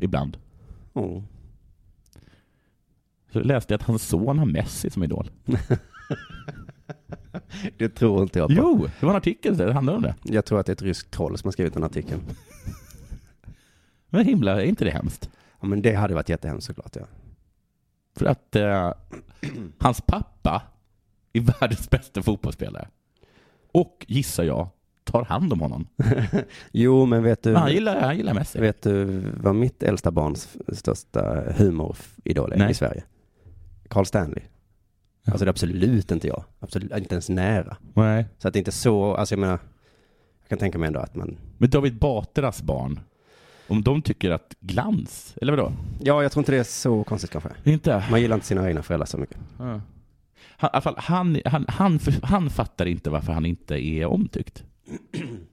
Speaker 4: ibland.
Speaker 2: Oh.
Speaker 4: Så läste jag att hans son har Messi som idol.
Speaker 2: Det tror inte jag på.
Speaker 4: Jo, det var en artikel där det handlade om det.
Speaker 2: Jag tror att det är ett ryskt troll som har skrivit den artikeln.
Speaker 4: Men himla, är inte det hemskt?
Speaker 2: Ja, men det hade varit jättehemskt såklart. Ja.
Speaker 4: För att eh, hans pappa är världens bästa fotbollsspelare. Och, gissar jag, tar hand om honom.
Speaker 2: Jo, men vet du,
Speaker 4: Men Ah, han, gillar, han gillar Messi.
Speaker 2: vet du vad mitt äldsta barns f- största humoridol är
Speaker 4: Nej.
Speaker 2: i Sverige? Carl Stanley. Alltså det är absolut inte jag. Absolut, inte ens nära.
Speaker 4: Nej.
Speaker 2: Så att det är inte så, alltså jag menar, jag kan tänka mig ändå att man,
Speaker 4: Men David Batras barn, om de tycker att glans, eller vadå?
Speaker 2: ja jag tror inte det är så konstigt kanske.
Speaker 4: Inte?
Speaker 2: Man gillar inte sina egna föräldrar så mycket.
Speaker 4: Han, i alla fall, han, han, han, för- han fattar inte varför han inte är omtyckt.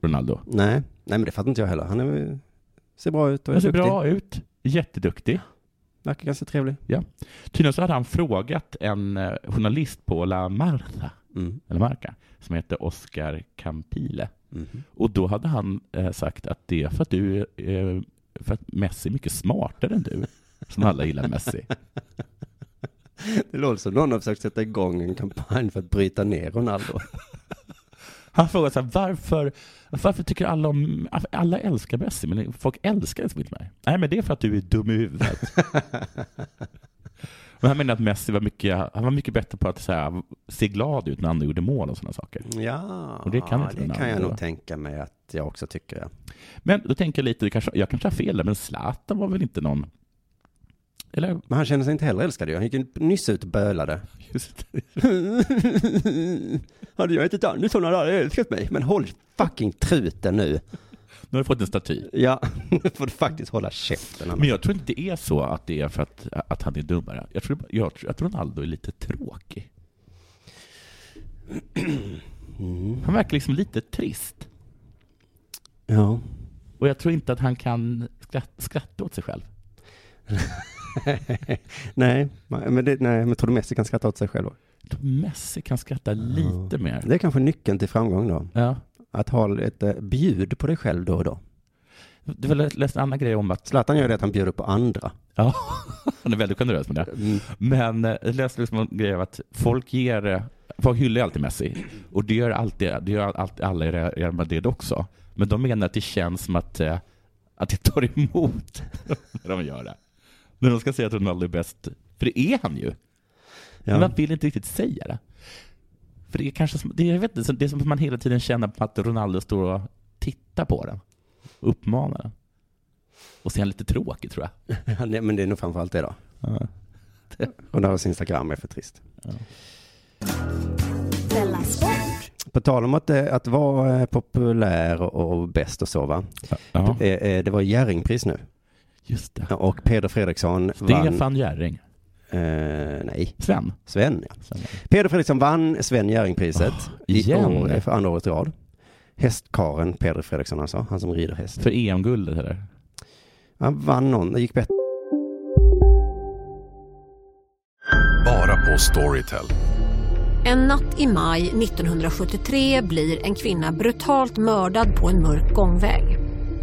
Speaker 4: Ronaldo.
Speaker 2: Nej, nej men det fattar inte jag heller. Han är, väl- ser bra ut och är
Speaker 4: Han ser
Speaker 2: duktig.
Speaker 4: bra ut, jätteduktig.
Speaker 2: Verkar ganska trevlig.
Speaker 4: Tydligen så hade han frågat en eh, journalist på La Marca,
Speaker 2: Mm.
Speaker 4: eller Marca som heter Oscar Campile.
Speaker 2: Mhm.
Speaker 4: Och då hade han eh, sagt att det är för att du eh, för att Messi är mycket smartare än du, som alla gillar Messi.
Speaker 2: Det låter som någon har försökt sätta igång en kampanj för att bryta ner Ronaldo.
Speaker 4: Han frågar så här, varför, varför tycker alla om, alla älskar Messi, men folk älskar liksom inte mig? Nej, men det är för att du är dum i huvudet. men han menar att Messi var mycket, han var mycket bättre på att så här, se glad ut när andra gjorde mål och sådana saker.
Speaker 2: Ja,
Speaker 4: Och det kan inte
Speaker 2: det
Speaker 4: Ronaldo,
Speaker 2: kan jag
Speaker 4: va?
Speaker 2: nog tänka mig att jag också tycker. ja.
Speaker 4: Men då tänker jag lite, det kanske, jag kanske har fel där, men Zlatan var väl inte någon... Eller?
Speaker 2: Men han känner sig inte heller älskad ju. Han gick ju nyss ut och bölade.
Speaker 4: Just,
Speaker 2: Hade jag ätit Andersson hade alla älskat mig. Men håll fucking truten nu.
Speaker 4: nu har du fått en staty.
Speaker 2: Ja, nu får du faktiskt hålla käften.
Speaker 4: Men jag tror inte det är så att det är för att, att han är dummare. Jag tror, jag, tror- jag tror Ronaldo är lite tråkig.
Speaker 2: Mm.
Speaker 4: Han verkar liksom lite trist.
Speaker 2: Ja.
Speaker 4: Och jag tror inte att han kan skratt, skratta åt sig själv.
Speaker 2: nej, men det, nej, men tror du Messi kan skratta åt sig själv?
Speaker 4: Jag tror Messi kan skratta lite mer.
Speaker 2: Det är kanske nyckeln till framgång då.
Speaker 4: Ja.
Speaker 2: Att ha ett eh, bjud på dig själv då och då.
Speaker 4: Du var läst en annan grej om att
Speaker 2: Zlatan gör det att han bjuder på andra.
Speaker 4: ja, han är väldigt generös med det. Men eh, jag läste liksom en grej om att folk ger eh, Folk hyllar ju alltid Messi och det gör, alltid, det gör alltid alla i Real Madrid också. Men de menar att det känns som att, eh, att det tar emot när de gör det. När de ska säga att Ronaldo är bäst, för det är han ju. Men man vill inte riktigt säga det. För det är kanske som, det, är- jag vet inte, så det är som att man hela tiden känner på att Ronaldo står och tittar på den. Och uppmanar den. Och så är han lite tråkig tror jag.
Speaker 2: Ja, nej, men det är nog framförallt det då.
Speaker 4: Ja.
Speaker 2: Ronaldos Instagram är för trist. På tal om att, eh, att vara eh, populär och och bäst och så va.
Speaker 4: Ja,
Speaker 2: Eh, eh, Det var Jerringpris nu.
Speaker 4: just det.
Speaker 2: Ja, Och Peder Fredriksson vann...
Speaker 4: Stefan Jerring.
Speaker 2: Eh, nej,
Speaker 4: Sven.
Speaker 2: Sven ja.
Speaker 4: Sven.
Speaker 2: Peder Fredriksson vann Sven Jerringpriset. i
Speaker 4: Ah, igen?
Speaker 2: år, eh, för andra året i rad. Hästkaren Peder Fredriksson alltså, han som rider häst.
Speaker 4: För EM-guldet eller?
Speaker 2: Han vann någon, det gick bättre.
Speaker 3: Bara på Storytel.
Speaker 5: En natt i maj 1973 blir en kvinna brutalt mördad på en mörk gångväg.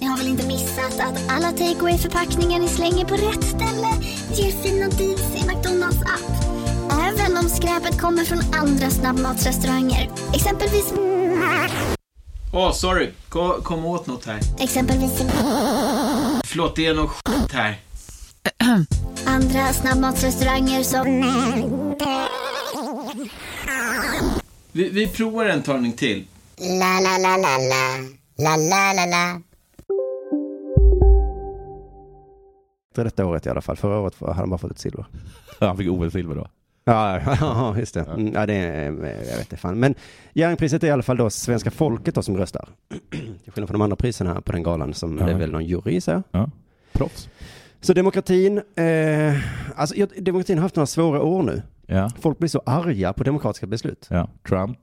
Speaker 5: Ni har väl inte missat att alla takeaway förpackningar ni slänger på rätt ställe ger fina deals i McDonalds app. Även om skräpet kommer från andra snabbmatsrestauranger. Exempelvis...
Speaker 6: Åh, sorry. Kom, kom åt något här.
Speaker 5: Exempelvis...
Speaker 6: Förlåt, det är något skit här.
Speaker 5: Andra snabbmatsrestauranger som...
Speaker 6: Vi, vi provar en talning till.
Speaker 2: detta året i alla fall. Förra året hade han bara fått ett silver.
Speaker 4: Ja, han fick OS-silver då.
Speaker 2: Ja, ja, just det. Mm, Ja, det är, jag vet inte fan. Men Jerringpriset är i alla fall då svenska folket då som röstar. Till skillnad från de andra priserna här på den galan som
Speaker 4: Ja.
Speaker 2: det är väl någon jury gissar jag.
Speaker 4: Ja. Proffs.
Speaker 2: Så demokratin, eh, alltså jag- demokratin har haft några svåra år nu.
Speaker 4: Ja.
Speaker 2: Folk blir så arga på demokratiska beslut.
Speaker 4: Ja. Trump.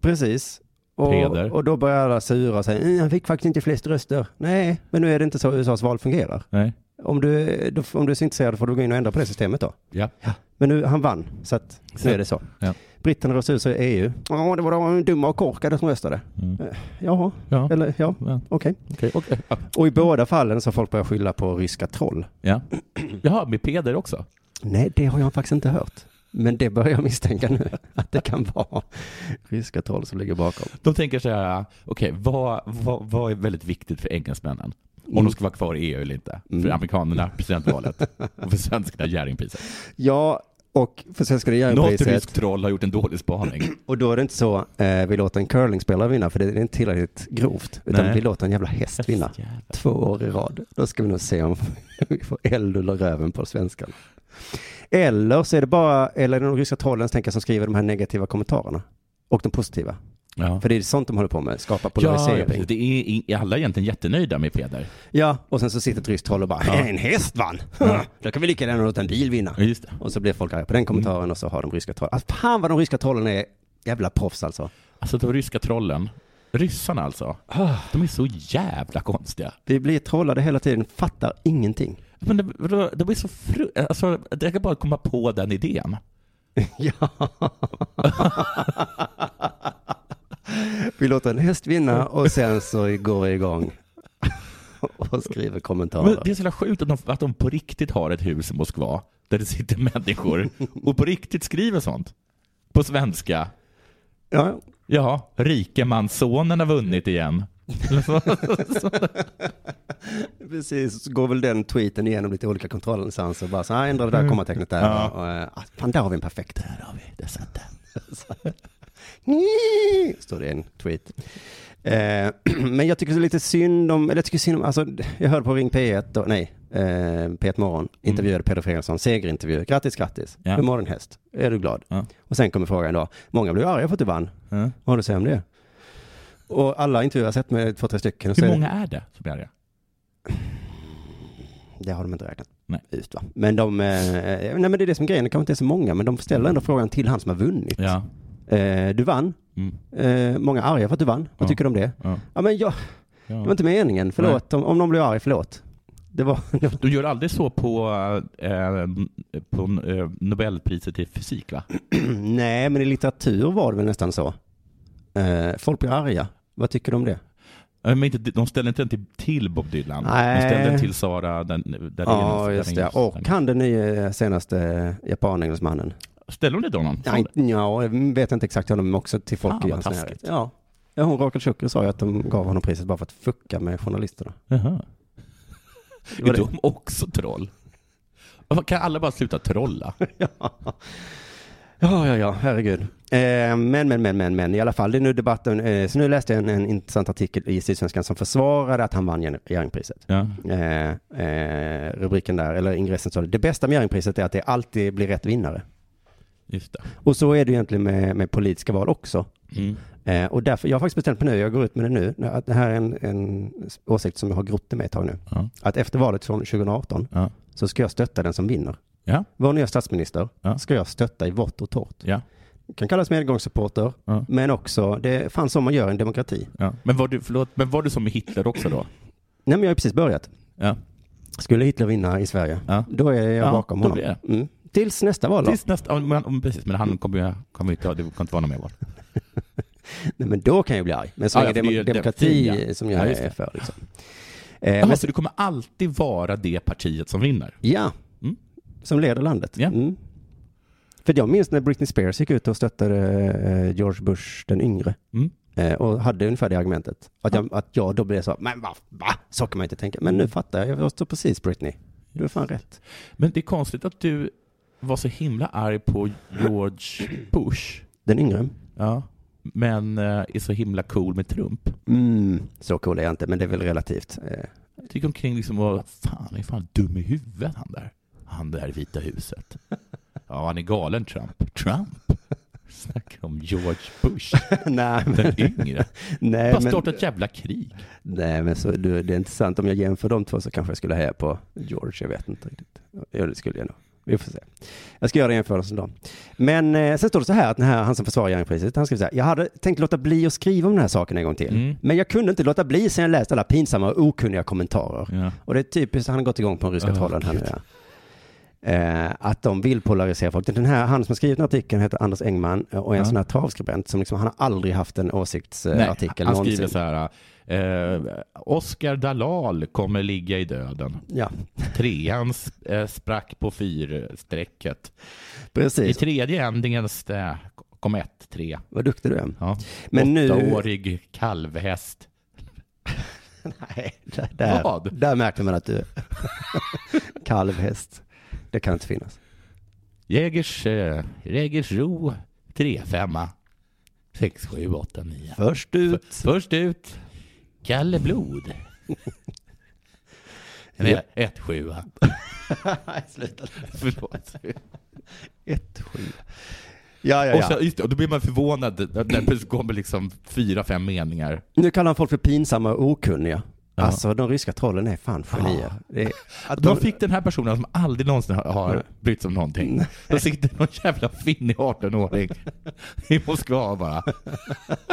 Speaker 2: Precis. Och,
Speaker 4: Peder.
Speaker 2: och då börjar alla sura och säga, "Mm, han fick faktiskt inte flest röster. Nej, men nu är det inte så USAs val fungerar.
Speaker 4: Nej.
Speaker 2: Om du, då, om du är så intresserad får du gå in och ändra på det systemet då.
Speaker 4: Ja.
Speaker 2: Men nu, han vann, så att nu är det så.
Speaker 4: Ja.
Speaker 2: Britterna röstade ut sig i E EU. Ja, det var de dumma och korkade som röstade.
Speaker 4: Mm.
Speaker 2: Eh, Jaha,
Speaker 4: ja.
Speaker 2: eller ja, okej. Och i båda fallen så har folk börjat skylla på ryska troll.
Speaker 4: Ja. Jaha, med Peder också?
Speaker 2: Nej, det har jag faktiskt inte hört. Men det börjar jag misstänka nu, att det kan vara ryska troll som ligger bakom.
Speaker 4: De tänker så här, okej, vad, vad, vad är väldigt viktigt för engelsmännen? Om
Speaker 2: Mm.
Speaker 4: de ska vara kvar i EU eller inte. För
Speaker 2: Mm.
Speaker 4: amerikanerna, presidentvalet. och för svenskarna, Jerringpriset.
Speaker 2: Ja, och för Svenska
Speaker 4: Något
Speaker 2: Jerringpriset.
Speaker 4: ryskt troll har gjort en dålig spaning.
Speaker 2: Och då är det inte så, eh, vi låter en curlingspelare vinna, för det är inte tillräckligt grovt. Utan
Speaker 4: Nej.
Speaker 2: vi låter en jävla häst vinna. Två år i rad. Då ska vi nog se om vi får eld under röven på svenskan. Eller så är det bara, eller är det de ryska trollen tänker jag, som skriver de här negativa kommentarerna. Och de positiva.
Speaker 4: Ja.
Speaker 2: För det är sånt de håller på med, skapa
Speaker 4: Ja,
Speaker 2: polarisering.
Speaker 4: precis. det är, i- är alla egentligen jättenöjda med Peder.
Speaker 2: Ja, och sen så sitter ett ryskt troll och bara
Speaker 4: Ja.
Speaker 2: en häst vann. Då kan vi lika gärna låta en bil vinna. Och så blir folk arga på
Speaker 4: Mm.
Speaker 2: den kommentaren och så har de ryska trollen. Alltså, fan vad de ryska trollen är jävla proffs alltså.
Speaker 4: Alltså de ryska trollen, ryssarna alltså, de är så jävla konstiga.
Speaker 2: Vi blir trollade hela tiden, fattar ingenting.
Speaker 4: Men det, vadå, det blir så fru... Alltså, jag kan bara komma på den idén.
Speaker 2: Ja. Vi låter en häst vinna och sen så går vi igång och skriver
Speaker 4: Men
Speaker 2: kommentarer.
Speaker 4: det är så jävla sjukt att de, att de på riktigt har ett hus i Moskva där det sitter människor och på riktigt skriver sånt. På svenska.
Speaker 2: Ja,
Speaker 4: ja rikemanssonen har vunnit igen. Eller så-
Speaker 2: Precis, så går väl den tweeten igenom lite olika kontrollinstanser och bara så här, ändra det där kommatecknet där.
Speaker 4: Mm. Ja.
Speaker 2: Och, eh, ah, fan, där har vi en perfekt. Där
Speaker 4: har vi, där satt
Speaker 2: den. Står det i en tweet. Eh, men jag tycker det är lite synd om, eller jag tycker synd om, alltså jag hörde på Ring P1, och, nej, eh, P1 Morgon, intervjuade Peder Fredriksson, segerintervju, grattis, grattis,
Speaker 4: Mm. Ja.
Speaker 2: hur mår din häst, är du glad?
Speaker 4: Ja.
Speaker 2: Och sen kommer frågan då, många blev arga för att du vann,
Speaker 4: Ja.
Speaker 2: vad har du att säga om det? Och alla intervjuer jag har sett med två, tre stycken. och så
Speaker 4: Hur
Speaker 2: är det-
Speaker 4: många är det som blir arga?
Speaker 2: Det har de inte räknat
Speaker 4: Nej.
Speaker 2: ut va? Men de, eh, nej men det är det som är grejen, det kanske inte är så många, men de ställer ändå frågan till han som har vunnit.
Speaker 4: Ja.
Speaker 2: Eh, du vann,
Speaker 4: Mm.
Speaker 2: eh, många är arga för att du vann, vad tycker du om det?
Speaker 4: Ja.
Speaker 2: Ja men jag,
Speaker 4: Ja.
Speaker 2: det var inte meningen, förlåt, om, om någon blir arg, förlåt. Det var,
Speaker 4: Du gör aldrig så på, eh, på eh, Nobelpriset i fysik va?
Speaker 2: nej men i litteratur var det väl nästan så. Eh, folk blir arga, vad tycker du om det?
Speaker 4: Nej, Men inte, de ställde inte den till, till Bob Dylan.
Speaker 2: Nej.
Speaker 4: De ställde den till Sara den, Daréus.
Speaker 2: Ja just det,
Speaker 4: Daréus.
Speaker 2: och han den nya eh, senaste japanengelsmannen.
Speaker 4: Ställde de det till honom?
Speaker 2: Nej, ja, jag vet inte exakt honom, men också till folk
Speaker 4: Fan,
Speaker 2: i
Speaker 4: vad
Speaker 2: hans närhet.
Speaker 4: taskigt.
Speaker 2: Ja. ja, hon Rakel Shukri sa ju att de gav honom priset bara för att fucka med journalisterna.
Speaker 4: Jaha.
Speaker 2: var
Speaker 4: Är
Speaker 2: det.
Speaker 4: de också troll? Varför Kan alla bara sluta trolla?
Speaker 2: Ja, ja, ja, herregud. Eh, men, men, men, men, men, i alla fall, det är nu debatten. Eh, så nu läste jag en, en intressant artikel i Sydsvenskan som försvarade att han vann Jerring- Jerringpriset.
Speaker 4: Ja.
Speaker 2: Eh, eh, rubriken där, eller ingressen står det, det bästa med Jerringpriset är att det alltid blir rätt vinnare.
Speaker 4: Just det.
Speaker 2: Och så är det ju egentligen med, med politiska val också.
Speaker 4: Mm.
Speaker 2: Eh, och därför, jag har faktiskt bestämt mig nu, jag går ut med det nu, att det här är en, en åsikt som jag har grott i mig ett tag nu.
Speaker 4: Ja.
Speaker 2: Att efter valet från 2018
Speaker 4: Ja.
Speaker 2: så ska jag stötta den som vinner.
Speaker 4: Ja.
Speaker 2: Vår nya statsminister
Speaker 4: Ja.
Speaker 2: ska jag stötta i vått och torrt.
Speaker 4: Ja.
Speaker 2: Kan kallas medgångssupporter,
Speaker 4: Ja.
Speaker 2: men också, det är fan så man gör i en demokrati.
Speaker 4: Ja. Men, var du, förlåt, men var du som med Hitler också då?
Speaker 2: Nej men jag har ju precis börjat.
Speaker 4: Ja.
Speaker 2: Skulle Hitler vinna i Sverige,
Speaker 4: Ja.
Speaker 2: då är jag
Speaker 4: Ja,
Speaker 2: bakom
Speaker 4: då
Speaker 2: honom.
Speaker 4: blir
Speaker 2: Mm. Tills nästa val då.
Speaker 4: Tills nästa, ja, men, ja, precis, men han kommer ju kommer inte, det kommer inte vara någon mer val.
Speaker 2: Nej, men då kan jag bli arg. Men så
Speaker 4: Ja,
Speaker 2: länge det
Speaker 4: ja, för
Speaker 2: är
Speaker 4: det är ju
Speaker 2: demokrati
Speaker 4: demokrati, ja.
Speaker 2: som
Speaker 4: Ja,
Speaker 2: jag
Speaker 4: just
Speaker 2: är
Speaker 4: det.
Speaker 2: för. Liksom. Eh,
Speaker 4: Jaha,
Speaker 2: men-
Speaker 4: så du kommer alltid vara det partiet som vinner?
Speaker 2: Ja,
Speaker 4: Mm.
Speaker 2: som leder landet.
Speaker 4: Ja.
Speaker 2: Mm. För jag minns när Britney Spears gick ut och stöttade eh, George Bush den yngre.
Speaker 4: Mm.
Speaker 2: Eh, och hade ungefär det argumentet. Att jag, att jag då blev så, men va, va? Så kan man inte tänka. Men nu fattar jag, jag står precis Britney. Du har fan rätt.
Speaker 4: Men det är konstigt att du var så himla arg på George Bush,
Speaker 2: Den yngre.
Speaker 4: ja. men eh, är så himla cool med Trump.
Speaker 2: Mm. Så cool är jag inte, men det är väl relativt. Eh,
Speaker 4: Jag gick omkring liksom och, fan, han är fan dum i huvudet han där. Han där i Vita huset. Ja, han är galen Trump. Trump? Snackar om George Bush.
Speaker 2: Nej,
Speaker 4: Den yngre.
Speaker 2: Nej,
Speaker 4: Bara
Speaker 2: men-
Speaker 4: starta ett jävla krig.
Speaker 2: Nej, men så, du, det är inte sant. Om jag jämför de två så kanske jag skulle heja på George. Jag vet inte riktigt. Jo, det skulle jag nog. Vi får se. Jag ska göra jämförelsen då. Men eh, sen står det så här att den här, han som försvarar Jerringpriset, han skriver så här. Jag hade tänkt låta bli att skriva om den här saken en gång till.
Speaker 4: Mm.
Speaker 2: Men jag kunde inte låta bli sen jag läst alla pinsamma och okunniga kommentarer. Och det är typiskt, han har gått igång på den ryska
Speaker 4: Ja,
Speaker 2: trollen här nu. Ja. Eh, att de vill polarisera folk. Den här, han som har skrivit den här artikeln heter Anders Engman eh, och är en
Speaker 4: Ja.
Speaker 2: sån här travskribent som liksom, han har aldrig haft en
Speaker 4: Nej,
Speaker 2: åsiktsartikel
Speaker 4: han skriver så här. Eh, Oscar Dalal kommer ligga i döden.
Speaker 2: Ja.
Speaker 4: Trean sp- eh, sprack på fyrstrecket.
Speaker 2: Precis.
Speaker 4: I tredje ändringen stä- kom ett, tre.
Speaker 2: Vad duktig du är.
Speaker 4: Ja.
Speaker 2: Men nu-
Speaker 4: Åttaårig kalvhäst.
Speaker 2: Nej, där, där,
Speaker 4: Vad?
Speaker 2: där märker man att du är kalvhäst. Det kan inte finnas.
Speaker 4: Jägers, eh, Jägersro, tre, femma. Sex, sju, åtta, nio.
Speaker 2: Först ut.
Speaker 4: först ut. Kalle Blod. En
Speaker 2: Ja.
Speaker 4: Ett, sjua.
Speaker 2: Nej, sluta.
Speaker 4: Förlåt.
Speaker 2: Ett sju. Ja, ja,
Speaker 4: Och,
Speaker 2: ja.
Speaker 4: så, just, det, och då blir man förvånad när det plötsligt kommer liksom fyra, fem meningar.
Speaker 2: Nu kallar han folk för pinsamma och okunniga.
Speaker 4: Ja.
Speaker 2: Alltså de ryska trollen är fan genier. Det är, att
Speaker 4: De fick den här personen som aldrig någonsin har- har brytt sig om någonting. Då sitter någon jävla finnig 18-åring i Moskva bara.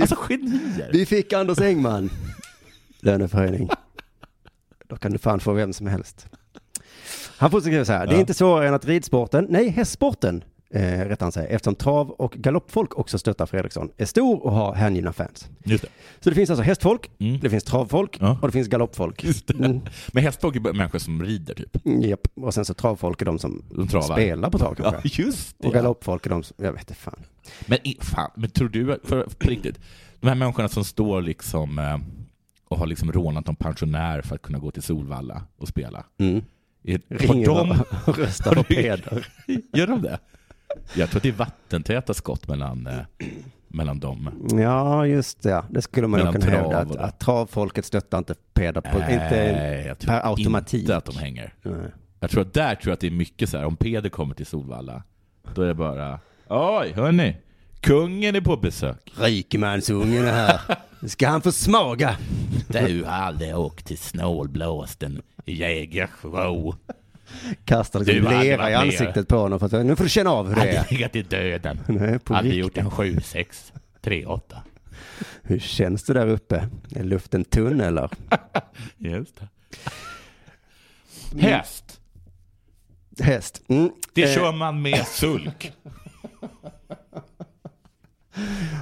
Speaker 4: Alltså genier!
Speaker 2: Vi fick Anders Engman. Löneförhöjning. Då kan du fan få vem som helst. Han fortsätter skriva så här. Det är
Speaker 4: Ja.
Speaker 2: inte svårare än att ridsporten, nej hästsporten, eh, rätt han säger, eftersom trav och galoppfolk också stöttar Fredriksson, är stor och har hängivna fans.
Speaker 4: Just det.
Speaker 2: Så det finns alltså hästfolk, det finns travfolk och det finns galoppfolk.
Speaker 4: Mm. Just det. Men hästfolk är bara människor som rider typ.
Speaker 2: Mm, japp. Och sen så travfolk är de som
Speaker 4: De travar.
Speaker 2: spelar på trav
Speaker 4: Ja,
Speaker 2: kanske.
Speaker 4: just det.
Speaker 2: och galoppfolk är de som, jag vet inte fan.
Speaker 4: Men, i- fan, men tror du, för, på riktigt, de här människorna som står liksom eh, och har liksom rånat någon pensionär för att kunna gå till Solvalla och spela.
Speaker 2: Mm.
Speaker 4: Är, har
Speaker 2: Ringer
Speaker 4: de,
Speaker 2: och röstar på
Speaker 4: har du-
Speaker 2: Peder.
Speaker 4: gör de det? Jag tror att det är vattentäta skott mellan, eh, mellan dem.
Speaker 2: Ja, just det. ja. Det skulle man ju
Speaker 4: Mellan
Speaker 2: kunna
Speaker 4: trav
Speaker 2: hävda.
Speaker 4: och
Speaker 2: Att,
Speaker 4: det.
Speaker 2: att travfolket stöttar inte Peder på, inte
Speaker 4: Nej, jag tror
Speaker 2: per automatik.
Speaker 4: inte att de hänger.
Speaker 2: Nej.
Speaker 4: Jag tror att där tror jag att det är mycket så här, om Peder kommer till Solvalla, då är det bara Oj, hörni, kungen är på besök.
Speaker 2: Rikemansungen är här. Nu ska han få smaga.
Speaker 4: Du har aldrig åkt till snålblåsten i Jägersro.
Speaker 2: Kastar liksom
Speaker 4: Du hade
Speaker 2: lera
Speaker 4: varit
Speaker 2: i
Speaker 4: med.
Speaker 2: ansiktet på honom. För att, nu får du känna av hur det är.
Speaker 4: Aldrig legat i döden.
Speaker 2: Nej, på
Speaker 4: Aldrig
Speaker 2: riktigt.
Speaker 4: gjort en 7-6, 3-8.
Speaker 2: Hur känns det där uppe? Är luften tunn eller?
Speaker 4: Just det. Häst,
Speaker 2: Häst. Mm.
Speaker 4: det
Speaker 2: Eh,
Speaker 4: kör man med sulk.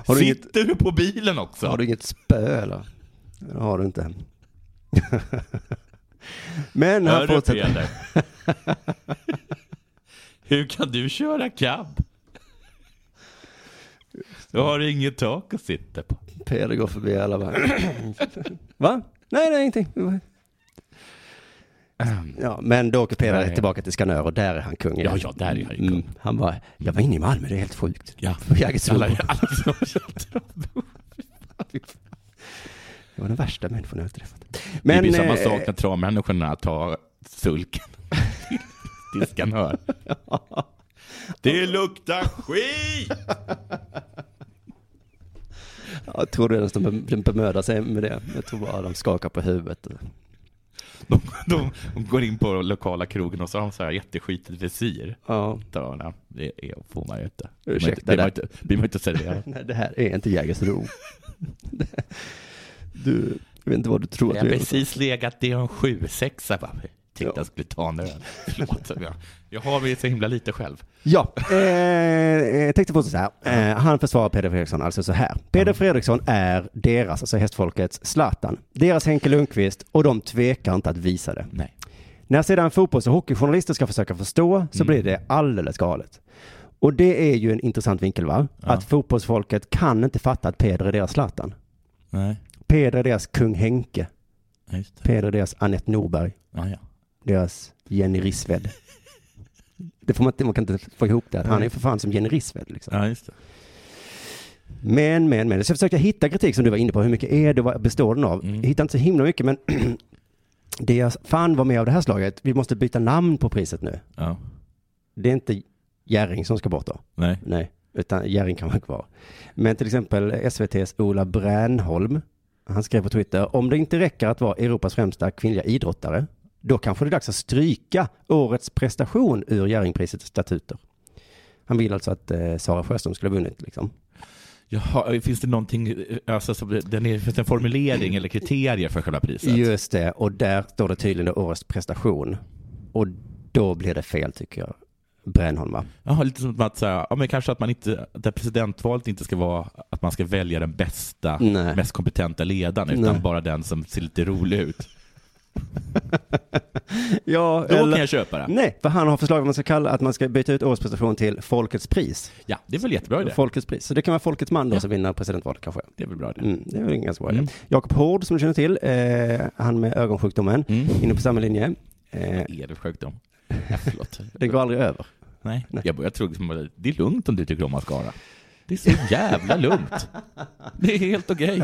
Speaker 2: Har du inget-
Speaker 4: Sitter du på bilen också?
Speaker 2: Har du inget spö eller? Det har du inte. Men
Speaker 4: Hör
Speaker 2: han
Speaker 4: du
Speaker 2: fortsätter.
Speaker 4: Peder? Hur kan du köra cab? Du har inget tak att sitta på.
Speaker 2: Peder går förbi alla bara. Va? Nej, nej, ingenting. Ja, men då åker Peder
Speaker 4: Nej.
Speaker 2: tillbaka till Skanör och där är han kung. igen.
Speaker 4: Ja, ja, där är han ju
Speaker 2: Mm,
Speaker 4: kung.
Speaker 2: Han bara, jag var inne i Malmö, det är helt sjukt.
Speaker 4: Ja.
Speaker 2: Jägersro.
Speaker 4: Alla, alla som kör
Speaker 2: Det var den värsta människan jag har träffat.
Speaker 4: Men, det blir samma
Speaker 2: eh,
Speaker 4: sak när travmänniskorna tar sulken till Skanör. Det luktar skit!
Speaker 2: Jag tror du ens de be- bemödar sig med det? Jag tror bara de skakar på huvudet.
Speaker 4: De, de, de går in på lokala krogen och så har de så här jätteskitigt visir.
Speaker 2: Ja,
Speaker 4: Dörrarna. Det är, får man ju inte.
Speaker 2: Ursäkta
Speaker 4: det. blir man
Speaker 2: där.
Speaker 4: inte- blir man inte serverad.
Speaker 2: nej, det här är inte Jägersro. du, jag vet inte vad du tror
Speaker 4: Jag
Speaker 2: att
Speaker 4: har
Speaker 2: du är.
Speaker 4: precis legat i en 7-6 bara. Tänkte jag skulle ta en öl. Förlåt, jag, jag har väl så himla lite själv.
Speaker 2: Ja, eh, jag tänkte fortsätta så här. Eh, han försvarar Peder Fredriksson alltså så här. Peder Fredriksson är deras, alltså hästfolkets, Zlatan. Deras Henke Lundqvist och de tvekar inte att visa det.
Speaker 4: Nej.
Speaker 2: När sedan fotbolls och hockeyjournalister ska försöka förstå så blir det alldeles galet. Och det är ju en intressant vinkel va? Att fotbollsfolket kan inte fatta att Peder är deras Zlatan.
Speaker 4: Nej,
Speaker 2: Peder är deras kung Henke.
Speaker 4: just det.
Speaker 2: Peder är deras Anette Norberg.
Speaker 4: Ja, ja.
Speaker 2: Deras Jenny Rissved. Det får man, inte, man kan inte få ihop det. Han är ju för fan som Jenny Rissved liksom.
Speaker 4: Ja, just det.
Speaker 2: Men, men, men. Så jag försökte hitta kritik som du var inne på. Hur mycket är det? Vad består den av? Jag Hittade inte så himla mycket, men det jag fan var med av det här slaget, vi måste byta namn på priset nu.
Speaker 4: Ja.
Speaker 2: Det är inte Jerring som ska bort då.
Speaker 4: Nej.
Speaker 2: Nej, utan Jerring kan vara kvar. Men till exempel SVTs Ola Bränholm, han skrev på Twitter, om det inte räcker att vara Europas främsta kvinnliga idrottare, då kanske det är dags att stryka årets prestation ur Jerringprisets statuter. Han vill alltså att eh, Sara Sjöström skulle ha vunnit liksom.
Speaker 4: Jaha, finns det någonting, alltså, som, den är, finns det en formulering eller kriterier för själva priset?
Speaker 2: Just det, och där står det tydligen då årets prestation. Och då blir det fel tycker jag. Brännholm va?
Speaker 4: Jaha, lite som att säga, ja, men kanske att man inte, där presidentvalet inte ska vara att man ska välja den bästa,
Speaker 2: Nej.
Speaker 4: mest kompetenta ledaren, utan
Speaker 2: Nej.
Speaker 4: bara den som ser lite rolig ut.
Speaker 2: Ja,
Speaker 4: Då kan jag köpa det.
Speaker 2: Nej, för han har förslag vad man ska kalla att man ska byta ut årets prestation till Folkets pris.
Speaker 4: Ja, det är väl jättebra idé.
Speaker 2: Folkets pris. Så det kan vara Folkets man då som vinner presidentvalet kanske.
Speaker 4: Det är väl bra det.
Speaker 2: Mm, det är väl en ganska bra idé. Jakob Hård som du känner till, eh, han med ögonsjukdomen,
Speaker 4: Mm.
Speaker 2: inne på samma linje. Eh,
Speaker 4: Är det sjukdom? Ja, förlåt.
Speaker 2: det går aldrig över.
Speaker 4: Nej, Jag, jag tror liksom, att det är lugnt om du tycker om mascara. Det är så jävla lugnt. Det är helt okej.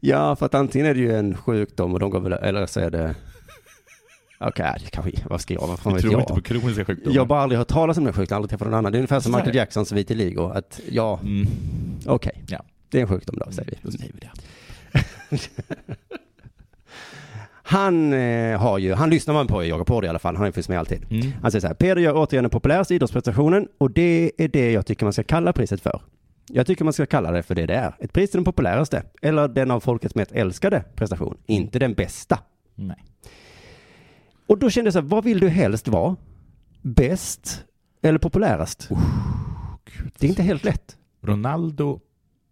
Speaker 2: Ja, för att antingen är det ju en sjukdom och de går väl, eller så är det... Okej, det kanske, vad ska jag, vad fan
Speaker 4: Jag
Speaker 2: vet
Speaker 4: tror
Speaker 2: jag?
Speaker 4: inte på kroniska sjukdomar.
Speaker 2: Jag har bara aldrig hört talas om den sjukdomen, aldrig träffat någon annan. Det är ungefär som
Speaker 4: Så här.
Speaker 2: Michael Jacksons vitiligo, att ja,
Speaker 4: Mm.
Speaker 2: okej,
Speaker 4: Ja,
Speaker 2: det är en sjukdom då, säger
Speaker 4: då
Speaker 2: vi.
Speaker 4: säger vi det.
Speaker 2: Han eh, har ju, han lyssnar man på i Jakob Hård i alla fall, han har ju funnits med alltid.
Speaker 4: Mm.
Speaker 2: Han säger så här, Peder gör återigen den populäraste idrottsprestationen och det är det jag tycker man ska kalla priset för. Jag tycker man ska kalla det för det det är. Ett pris till den populäraste, eller den av folket mest älskade prestation, inte den bästa.
Speaker 4: Nej.
Speaker 2: Och då kände jag så här, vad vill du helst vara? Bäst eller populärast? det är inte helt lätt.
Speaker 4: Ronaldo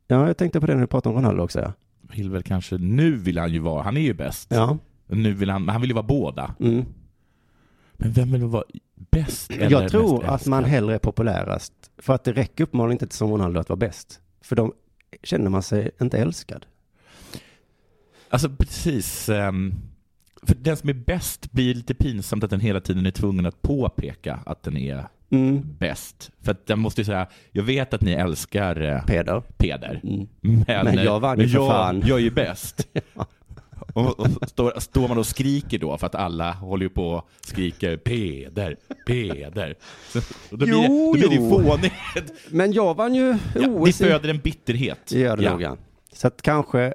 Speaker 2: Ja, jag tänkte på det när du pratade om Ronaldo också. Ja.
Speaker 4: vill väl kanske, nu vill han ju vara, han är ju bäst.
Speaker 2: ja.
Speaker 4: Nu vill han, han vill ju vara båda.
Speaker 2: Mm.
Speaker 4: Men vem vill vara bäst? Eller
Speaker 2: Jag tror
Speaker 4: mest
Speaker 2: att man
Speaker 4: älskad?
Speaker 2: hellre är populärast. För att det räcker uppenbarligen inte som Ronaldo att vara bäst. För de känner man sig inte älskad.
Speaker 4: Alltså precis. ehm, För den som är bäst blir lite pinsamt att den hela tiden är tvungen att påpeka att den är
Speaker 2: Mm.
Speaker 4: bäst. För att den måste ju säga, jag vet att ni älskar eh,
Speaker 2: Peder.
Speaker 4: Peder.
Speaker 2: Mm.
Speaker 4: Men,
Speaker 2: Men jag vann ju
Speaker 4: men
Speaker 2: för
Speaker 4: jag,
Speaker 2: fan.
Speaker 4: jag är ju bäst. Och, och står, står man och skriker då för att alla håller ju på och skriker Peder, Peder. Så, och då blir, det-
Speaker 2: Jo,
Speaker 4: då blir det ju
Speaker 2: jo.
Speaker 4: fånigt.
Speaker 2: Men jag vann ju
Speaker 4: Ja, det
Speaker 2: OS. i-
Speaker 4: föder en bitterhet.
Speaker 2: Det gör det
Speaker 4: Ja.
Speaker 2: nog, ja. Så att kanske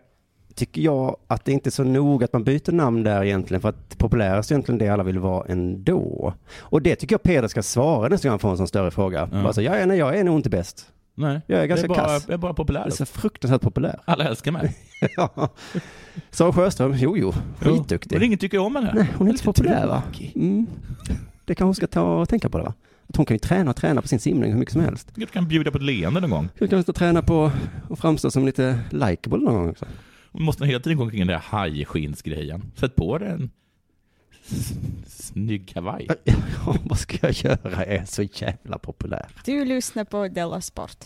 Speaker 2: tycker jag att det inte är så nog att man byter namn där egentligen. För att populärast är egentligen det alla vill vara ändå. Och det tycker jag Peder ska svara nästa gång han får en sån större fråga.
Speaker 4: Ja.
Speaker 2: Bara så, ja, ja, nej, jag är nog inte bäst.
Speaker 4: Nej,
Speaker 2: Jag är ganska
Speaker 4: jag är bara,
Speaker 2: kass.
Speaker 4: Jag är bara
Speaker 2: Jag är
Speaker 4: populär.
Speaker 2: så fruktansvärt populär.
Speaker 4: Alla älskar mig.
Speaker 2: Ja. Sara Sjöström, jo jo,
Speaker 4: Men
Speaker 2: skitduktig.
Speaker 4: ingen tycker om henne.
Speaker 2: Nej, hon är inte så
Speaker 4: Lite
Speaker 2: populär va?
Speaker 4: tråkig.
Speaker 2: Mm. Det kanske hon ska ta och tänka på det va? Att hon kan ju träna och träna på sin simning hur mycket som helst.
Speaker 4: Du kan bjuda på ett leende någon gång.
Speaker 2: Hon kanske ska träna på att framstå som lite likeable någon gång också.
Speaker 4: Man måste hela tiden gå omkring i den där hajskinnsgrejen. Sätt på dig en s- snygg kavaj.
Speaker 2: Ja, vad ska jag göra? Jag är så jävla populär.
Speaker 7: Du lyssnar på Della Sport.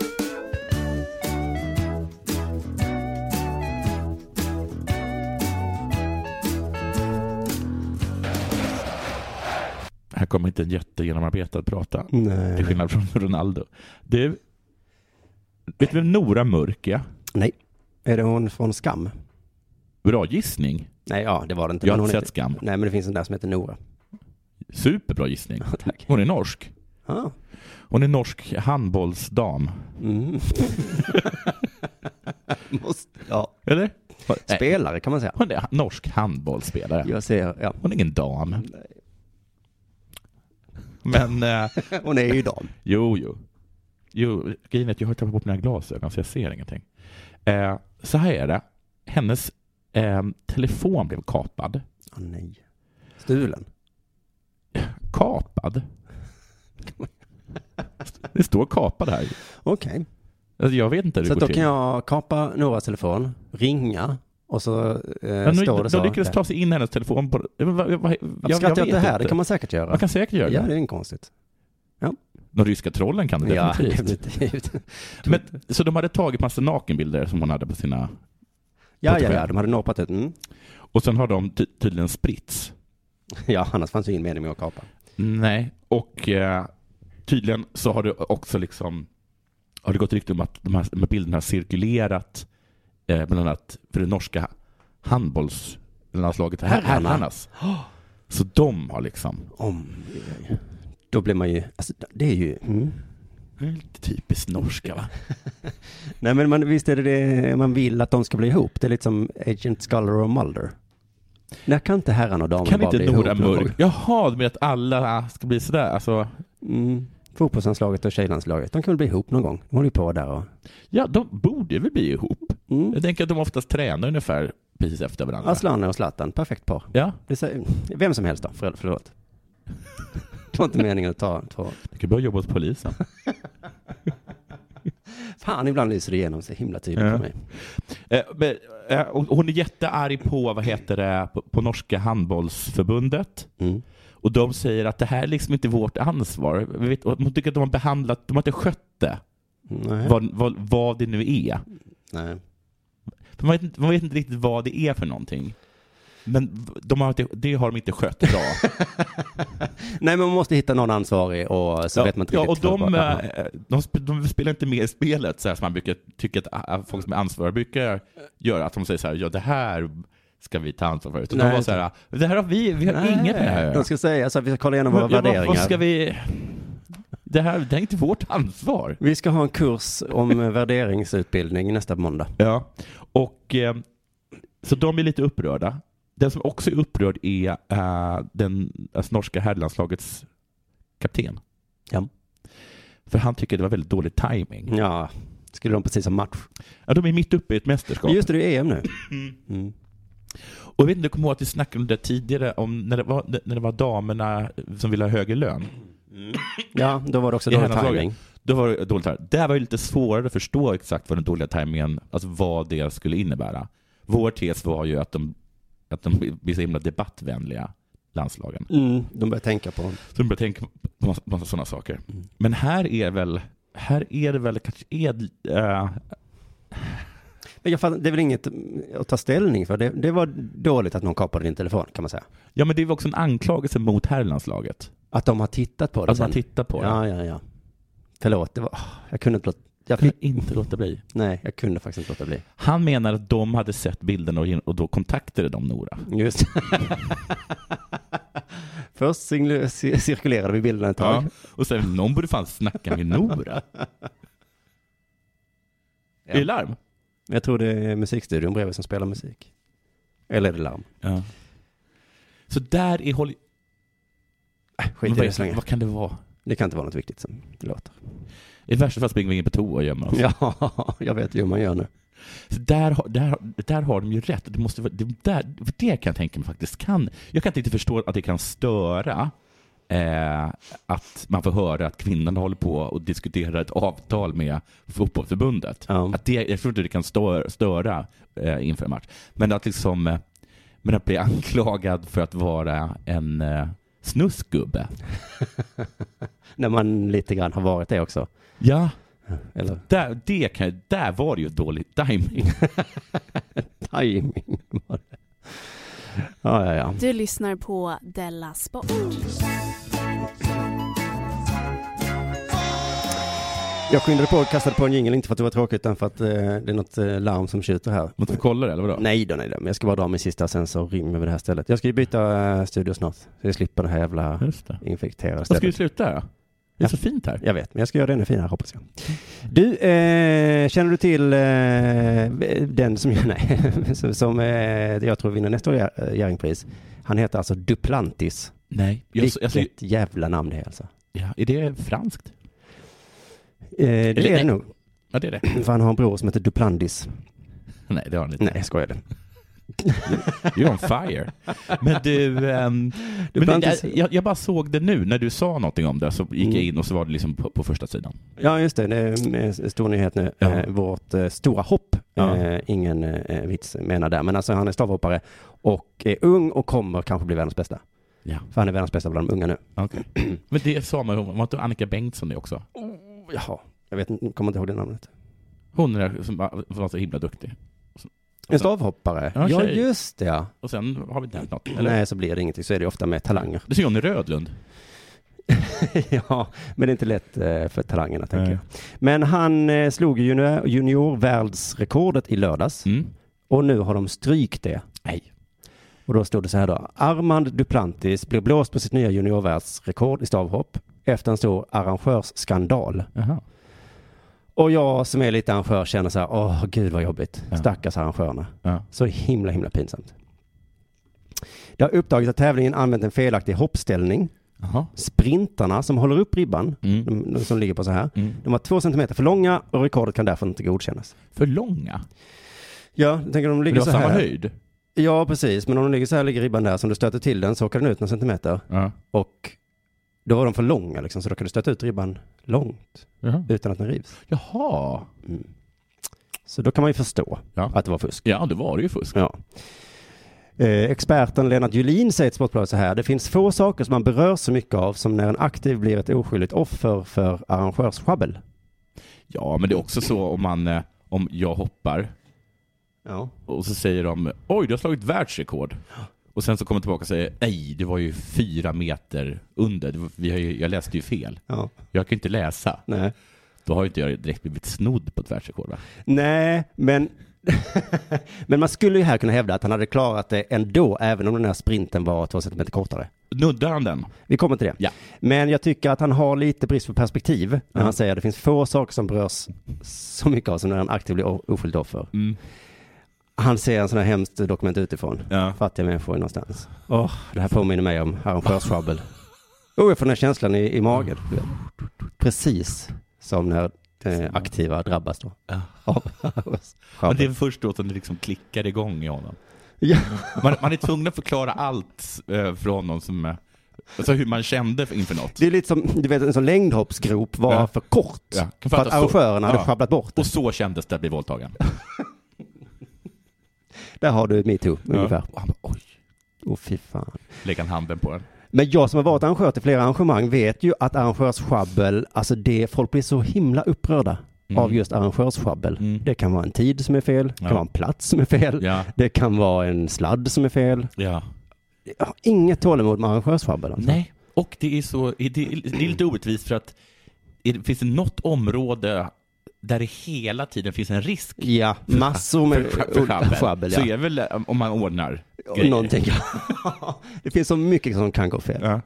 Speaker 4: Här kommer inte en jättegenomarbetad prata. Till
Speaker 2: Nej.
Speaker 4: skillnad från Ronaldo. Du, vet du vem Nora Mörk är?
Speaker 2: Nej. Är det hon från Skam?
Speaker 4: Bra gissning.
Speaker 2: Nej, ja, det var det inte.
Speaker 4: Jag har
Speaker 2: Men
Speaker 4: inte
Speaker 2: hon
Speaker 4: sett
Speaker 2: heter-
Speaker 4: Skam.
Speaker 2: Nej, men det finns en där som heter Nora.
Speaker 4: Superbra gissning.
Speaker 2: Ja, Tack.
Speaker 4: Hon är norsk.
Speaker 2: Ja.
Speaker 4: Hon är norsk handbollsdam.
Speaker 2: Mm. Måste, ja.
Speaker 4: Eller? Nej,
Speaker 2: Spelare kan man säga.
Speaker 4: Hon är norsk handbollsspelare.
Speaker 2: Jag ser, ja.
Speaker 4: Hon är ingen dam. Men, eh,
Speaker 2: Hon är ju dam.
Speaker 4: jo, jo. Jo, grejen är att jag har tappat bort mina glasögon så jag ser ingenting. Eh, så här är det. Hennes eh, telefon blev kapad.
Speaker 2: Åh nej. Stulen.
Speaker 4: Kapad? Det står kapad här.
Speaker 2: Okej.
Speaker 4: Alltså, jag vet inte hur
Speaker 2: Så
Speaker 4: det
Speaker 2: att
Speaker 4: går
Speaker 2: då kan
Speaker 4: till.
Speaker 2: jag kapa Noras telefon, ringa och så eh,
Speaker 4: Men nu,
Speaker 2: står det så.
Speaker 4: de lyckades ta sig in i hennes telefon. På, jag, jag, jag,
Speaker 2: jag,
Speaker 4: jag,
Speaker 2: skrattar åt
Speaker 4: vet
Speaker 2: det här,
Speaker 4: inte.
Speaker 2: det kan man säkert göra.
Speaker 4: Man kan säkert göra
Speaker 2: ja, det
Speaker 4: det.
Speaker 2: är inte konstigt.
Speaker 4: De ryska trollen kan det
Speaker 2: Ja,
Speaker 4: definitivt.
Speaker 2: definitivt.
Speaker 4: Men, så de hade tagit massa nakenbilder som hon hade på sina...
Speaker 2: Ja, ja,
Speaker 4: Portugal.
Speaker 2: ja, de hade norpat ut. Mm.
Speaker 4: Och sen har de ty- tydligen spritts.
Speaker 2: Ja, annars fanns ju ingen mening med att kapa.
Speaker 4: Nej. Och eh, tydligen så har det också liksom har det gått rykte om att de här, de här bilderna har cirkulerat eh, bland annat för det norska handbollslandslaget, herr-
Speaker 2: Herrarna.
Speaker 4: herrarnas. Så de har liksom...
Speaker 2: Om, då blir man ju, alltså, det är ju... Mm.
Speaker 4: Lite typiskt norska va?
Speaker 2: Nej men man, visst är det det man vill att de ska bli ihop? Det är lite som Agent Sculler och Mulder. När kan inte herrarna och damerna
Speaker 4: Kan
Speaker 2: bara
Speaker 4: inte
Speaker 2: bli ihop?
Speaker 4: Nora
Speaker 2: någon
Speaker 4: Mörk...
Speaker 2: gång?
Speaker 4: Jaha, du menar att alla ah, ska bli sådär? Alltså...
Speaker 2: Mm. Fotbollslandslaget och tjejlandslaget, de kan väl bli ihop någon gång? De håller ju på där och... mm.
Speaker 4: Ja, de borde väl bli ihop? Jag tänker att de oftast tränar ungefär precis efter varandra.
Speaker 2: Alltså, Aslan och Zlatan, perfekt par.
Speaker 4: Ja.
Speaker 2: Det säger, vem som helst då, för, förlåt. Det var inte meningen att ta två.
Speaker 4: Du kan börja jobba hos polisen.
Speaker 2: Fan, ibland lyser det igenom så himla tydligt
Speaker 4: Ja.
Speaker 2: för mig.
Speaker 4: Eh, men, eh, och hon är jättearg på, vad heter det, på, på norska handbollsförbundet.
Speaker 2: Mm.
Speaker 4: Och de säger att det här är liksom inte vårt ansvar. Vi vet, och hon tycker att de har behandlat, de har inte skött det.
Speaker 2: Nej.
Speaker 4: Vad, vad, vad det nu är.
Speaker 2: Nej.
Speaker 4: För man, vet inte, man vet inte riktigt vad det är för någonting. Men v- de har inte, det har de inte skött bra.
Speaker 2: Nej, men man måste hitta någon ansvarig och så vet man inte
Speaker 4: ja, och
Speaker 2: riktigt. vad-
Speaker 4: de,
Speaker 2: vad-
Speaker 4: eh, de, sp- de spelar inte med i spelet så här som man brukar tycka att ah, folk som är ansvariga brukar göra. Att de säger så här, ja det här ska vi ta ansvar för. Utan de
Speaker 2: Nej,
Speaker 4: var så här, det här har vi, vi har
Speaker 2: Nej.
Speaker 4: inget med det här att göra."
Speaker 2: De ska säga, alltså, vi ska kolla igenom
Speaker 4: Men,
Speaker 2: våra
Speaker 4: ja, vad-
Speaker 2: värderingar.
Speaker 4: Vad ska vi... Det här, det här är inte vårt ansvar.
Speaker 2: Vi ska ha en kurs om eh, värderingsutbildning nästa måndag.
Speaker 4: Ja, och eh, så de är lite upprörda. Den som också är upprörd är eh, den alltså, norska herrlandslagets kapten.
Speaker 2: Ja.
Speaker 4: För han tycker det var väldigt dålig timing.
Speaker 2: Ja, skulle de precis ha match.
Speaker 4: Ja, de är mitt uppe i ett mästerskap.
Speaker 2: Just det, det är EM nu. Mm.
Speaker 4: Och jag vet inte, jag kommer ihåg att vi snackade om det tidigare, om när det var, när det var damerna som ville ha högre lön.
Speaker 2: Ja, då var det också
Speaker 4: I
Speaker 2: dålig
Speaker 4: herrlandslaget.
Speaker 2: timing.
Speaker 4: Då var det dåligt timing. Där var det lite svårare att förstå exakt vad den dåliga tajmingen, alltså vad det skulle innebära. Vår tes var ju att de, att de blir så himla debattvänliga, landslagen.
Speaker 2: Mm, de börjar tänka på...
Speaker 4: Så de börjar tänka på massa, massa sådana saker.
Speaker 2: Mm.
Speaker 4: Men här är väl, här är det väl kanske, är, äh,
Speaker 2: Men jag fattar, det är väl inget mm, att ta ställning för. Det, det var dåligt att någon kapade din telefon, kan man säga.
Speaker 4: ja men det var också en anklagelse mot herrlandslaget.
Speaker 2: Att de har tittat på det
Speaker 4: Att man
Speaker 2: sen.
Speaker 4: tittar på det.
Speaker 2: Ja, ja, ja. Förlåt, det var... åh, Jag kunde inte låta... Jag
Speaker 4: Kunde
Speaker 2: fick...
Speaker 4: inte låta bli.
Speaker 2: Nej, jag kunde faktiskt inte låta bli.
Speaker 4: Han menar att de hade sett bilderna och, och då kontaktade de Nora.
Speaker 2: Just Först singlu- cir- cirkulerade vi bilderna ett tag.
Speaker 4: Ja. Och sen, någon borde fan snacka med Nora. Är det larm?
Speaker 2: Jag tror det är musikstudion bredvid som spelar musik. Eller är det larm?
Speaker 4: Ja. Så där är håll...
Speaker 2: Äh, Skit i
Speaker 4: vad,
Speaker 2: det så länge.
Speaker 4: vad kan det vara?
Speaker 2: Det kan inte vara något viktigt som det låter.
Speaker 4: I värsta fall springer vi in på toa och gömmer oss.
Speaker 2: Ja, jag vet ju hur man gör nu.
Speaker 4: Så där, har- där, där har de ju rätt. Det, måste, vara- det, där, det kan jag tänka mig faktiskt kan... Jag kan inte riktigt förstå att det kan störa eh, att man får höra att kvinnan håller på och diskuterar ett avtal med fotbollförbundet. Att det, jag tror inte det kan störa, störa eh, inför en match. Men att liksom... Eh, men att bli anklagad för att vara en eh, snuskgubbe.
Speaker 2: När man lite grann har varit det också.
Speaker 4: Ja.
Speaker 2: Eller
Speaker 4: Där, det kan, där var det ju dålig timing.
Speaker 2: timing var det. Ja, ja, ja.
Speaker 8: Du lyssnar på Della Sport.
Speaker 2: Jag skyndade på och kastade på en jingel, inte för att det var tråkigt utan för att eh, det är något eh, larm som tjuter här.
Speaker 4: Måste vi kolla det eller vadå?
Speaker 2: Nej då, nej då, men jag ska bara dra min sista sen så rymmer vi det här stället. Jag ska ju byta eh, studio snart, så jag slipper det här jävla infekterade
Speaker 4: Vad ska vi
Speaker 2: stället.
Speaker 4: sluta då? Det är så fint här.
Speaker 2: Jag vet, men jag ska göra det ännu finare hoppas jag. Du, eh, känner du till eh, den som, nej, som, som eh, jag tror vinner nästa år Gär- Jerringpris? Han heter alltså Duplantis.
Speaker 4: Nej. Jag,
Speaker 2: Vilket
Speaker 4: jag, jag,
Speaker 2: jävla namn det är alltså.
Speaker 4: ja, är det franskt?
Speaker 2: Eh, det
Speaker 4: Eller
Speaker 2: är det
Speaker 4: nej.
Speaker 2: nog.
Speaker 4: Ja, det är det.
Speaker 2: För han har en bror som heter Duplandis.
Speaker 4: Nej, det har han inte.
Speaker 2: Nej, jag skojade.
Speaker 4: You're on fire. Men du, ehm,
Speaker 2: Du
Speaker 4: men
Speaker 2: blandar-
Speaker 4: det, jag, jag bara såg det nu när du sa någonting om det så gick jag in och så var det liksom på, på första sidan.
Speaker 2: Ja, just det. Det är en stor nyhet nu. Eh, Vårt eh, stora hopp.
Speaker 4: Ja.
Speaker 2: Eh, ingen eh, vits menar där. Men alltså han är stavhoppare och är ung och kommer kanske bli världens bästa.
Speaker 4: Ja.
Speaker 2: För han är världens bästa bland de unga nu.
Speaker 4: Okay. Men det sa man ju, var inte Annika Bengtsson det också?
Speaker 2: Oh, Jaha, jag vet, inte- kommer inte ihåg det namnet.
Speaker 4: Alltså- Hon är, som var var så himla duktig.
Speaker 2: En stavhoppare.
Speaker 4: Ja,
Speaker 2: ja,
Speaker 4: tjej.
Speaker 2: just det ja.
Speaker 4: Och sen har vi inte hänt något. Eller?
Speaker 2: Nej, så blir det ingenting. Så är det ofta med talanger.
Speaker 4: Det är Johnny Rödlund.
Speaker 2: ja, men det är inte lätt eh, för talangerna tänker jag. Men han eh, slog ju junior, juniorvärldsrekordet i lördags
Speaker 4: Mm.
Speaker 2: och nu har de strykt det.
Speaker 4: Nej.
Speaker 2: Och då stod det så här då. Armand Duplantis blev blåst på sitt nya juniorvärldsrekord i stavhopp efter en stor arrangörsskandal. Och jag som är lite arrangör känner så här, åh gud vad jobbigt. Stackars arrangörerna. Så himla, himla pinsamt. Det har uppdagats att tävlingen använt en felaktig hoppställning. Sprintarna som håller upp ribban,
Speaker 4: Mm.
Speaker 2: de, de som ligger på så här, de var två centimeter för långa och rekordet kan därför inte godkännas.
Speaker 4: För långa?
Speaker 2: Ja, jag tänker de ligger
Speaker 4: det
Speaker 2: så
Speaker 4: var
Speaker 2: här.
Speaker 4: samma höjd?
Speaker 2: Ja, precis. Men om de ligger så här, ligger ribban där, som du stöter till den så åker den ut några centimeter. Och då var de för långa liksom, så då kan du stöta ut ribban långt utan att den rivs.
Speaker 4: Jaha.
Speaker 2: Mm. Så då kan man ju förstå att det var fusk.
Speaker 4: Ja, det var det ju fusk.
Speaker 2: Ja. Eh, experten Lennart Julin säger till Sportbladet så här. Det finns få saker som man berör så mycket av som när en aktiv blir ett oskyldigt offer för arrangörssjabbel.
Speaker 4: Ja, men det är också så om man, eh, om jag hoppar och så säger de oj, du har slagit världsrekord. Och sen så kommer de tillbaka och säger nej, det var ju fyra meter under. Det var- Vi har ju, jag läste ju fel. Jag kan ju inte läsa.
Speaker 2: Nej.
Speaker 4: Då har ju inte jag direkt blivit snodd på ett världsrekord va?
Speaker 2: Nej, men, men man skulle ju här kunna hävda att han hade klarat det ändå, även om den här sprinten var två centimeter kortare.
Speaker 4: Nuddar han den?
Speaker 2: Vi kommer till det. Men jag tycker att han har lite brist på perspektiv när han säger att det finns få saker som berörs så mycket av som när en aktiv blir o- oskyldigt offer.
Speaker 4: Mm,
Speaker 2: Han ser en sån här hemskt dokument utifrån. Fattiga människor någonstans. Åh, det här påminner mig om arrangörssjabbel. Oh, jag får den här känslan i, i magen. Precis som när eh, aktiva drabbas då. Av
Speaker 4: Men
Speaker 2: arrangörssjabbel.
Speaker 4: det är först då som det liksom klickar igång i honom.
Speaker 2: Ja.
Speaker 4: Man, man är tvungen att förklara allt eh, för honom som, eh, alltså hur man kände inför något.
Speaker 2: Det är lite som, du vet, en sån längdhoppsgrop var
Speaker 4: Ja.
Speaker 2: för kort.
Speaker 4: Ja, kan
Speaker 2: För att
Speaker 4: fatta så.
Speaker 2: arrangörerna hade
Speaker 4: Ja.
Speaker 2: sjabblat bort.
Speaker 4: Och så kändes det att bli våldtagen.
Speaker 2: Där har du metoo,
Speaker 4: Ja.
Speaker 2: ungefär. Åh, fy fan.
Speaker 4: Lägger han handen på den.
Speaker 2: Men jag som har varit arrangör till flera arrangemang vet ju att arrangörssjabbel, alltså det, folk blir så himla upprörda
Speaker 4: Mm.
Speaker 2: av just arrangörssjabbel. Det kan vara en tid som är fel, det
Speaker 4: Ja.
Speaker 2: kan vara en plats som är fel,
Speaker 4: Ja.
Speaker 2: det kan vara en sladd som är fel.
Speaker 4: Ja.
Speaker 2: Jag har inget tålamod med arrangörssjabbel. Alltså.
Speaker 4: Nej, och det är, så, det, är- det är lite orättvist för att är det, finns det något område där det hela tiden finns en risk
Speaker 2: Ja, massor med
Speaker 4: för, för sjabbel,
Speaker 2: Eh, sjabbel, ja.
Speaker 4: så är väl eh, om man ordnar grejer.
Speaker 2: Någonting. det finns så mycket som kan gå fel. Eh,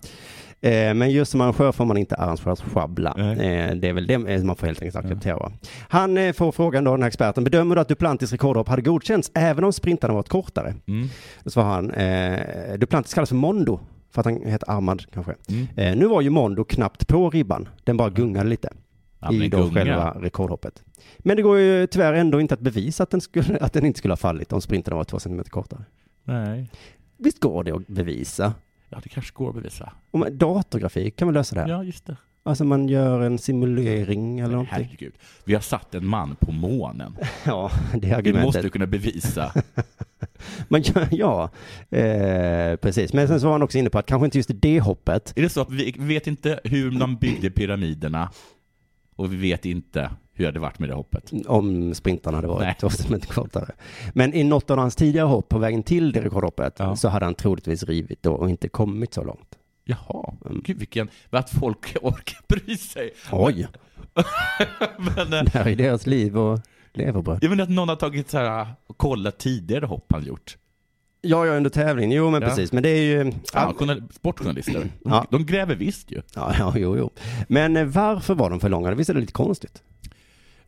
Speaker 2: Men just som arrangör får man inte arrangörssjabbla. Eh, Det är väl det eh, man får helt enkelt acceptera. va? Han eh, får frågan då, den här experten, bedömer du att Duplantis rekordhopp hade godkänts även om sprintarna varit kortare?
Speaker 4: Mm.
Speaker 2: Då svarar han, eh, Duplantis kallas för Mondo, för att han heter Armand kanske.
Speaker 4: Mm.
Speaker 2: Eh, nu var ju Mondo knappt på ribban, den bara gungade lite.
Speaker 4: Ja, men
Speaker 2: I då
Speaker 4: gunga.
Speaker 2: själva rekordhoppet. Men det går ju tyvärr ändå inte att bevisa att den, skulle, att den inte skulle ha fallit om sprintarna var två centimeter kortare.
Speaker 4: Nej.
Speaker 2: Visst går det att bevisa?
Speaker 4: Ja, det kanske går att bevisa.
Speaker 2: Om man- datorgrafik kan man lösa det här?
Speaker 4: Ja, just det.
Speaker 2: Alltså man gör en simulering eller någonting.
Speaker 4: Herregud. Vi har satt en man på månen.
Speaker 2: Ja, det är
Speaker 4: Vi
Speaker 2: argumentet.
Speaker 4: måste kunna bevisa.
Speaker 2: Man gör, ja, eh, precis. Men sen så var han också inne på att kanske inte just det hoppet.
Speaker 4: Är det så att vi vi vet inte hur man byggde pyramiderna och vi vet inte hur det hade varit med det hoppet?
Speaker 2: Om sprintarna hade varit två centimeter kortare. Men i något av hans tidigare hopp på vägen till det rekordhoppet så hade han troligtvis rivit då och inte kommit så långt.
Speaker 4: Jaha, gud vilken, att folk orkar bry sig.
Speaker 2: Oj,
Speaker 4: Men, eh,
Speaker 2: det här är deras liv och leverbröd.
Speaker 4: Jag menar att någon har tagit så här ah, och kollat tidigare hopp han gjort.
Speaker 2: Ja, ja, under tävlingen. Jo, men
Speaker 4: Ja.
Speaker 2: precis. Men det är ju...
Speaker 4: Ja, journal- sportjournalister, de,
Speaker 2: Ja.
Speaker 4: de gräver visst ju.
Speaker 2: Ja, ja, jo, jo. Men eh, varför var de för långa? Visst är det lite konstigt?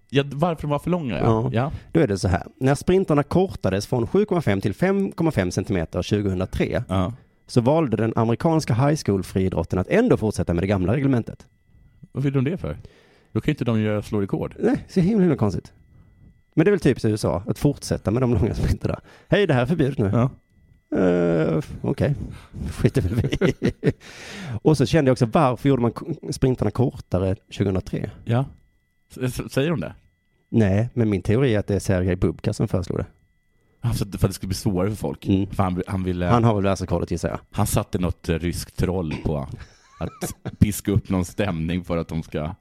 Speaker 4: Ja, varför de var för långa
Speaker 2: Ja.
Speaker 4: ja. ja.
Speaker 2: Då är det så här. När sprintarna kortades från 7,5 till 5,5 centimeter 2003 så valde den amerikanska high school-friidrotten att ändå fortsätta med det gamla reglementet.
Speaker 4: Vad vill de det för? Då kan ju inte de göra slå rekord.
Speaker 2: Nej, så himla, himla konstigt. Men det är väl typiskt USA att fortsätta med de långa sprintarna. Hej, det här är förbjudet nu. Eh, Okej, skiter väl vi Och så kände jag också, varför gjorde man k- sprintarna kortare 2003?
Speaker 4: Ja. S- s- Säger de det?
Speaker 2: Nej, men min teori är att det är Sergej Bubka som föreslog det.
Speaker 4: Alltså, för att det skulle bli svårare för folk. För han, Mm. han ville...
Speaker 2: Han har väl världsrekordet gissar jag.
Speaker 4: Han satte något eh, ryskt troll på att piska upp någon stämning för att de ska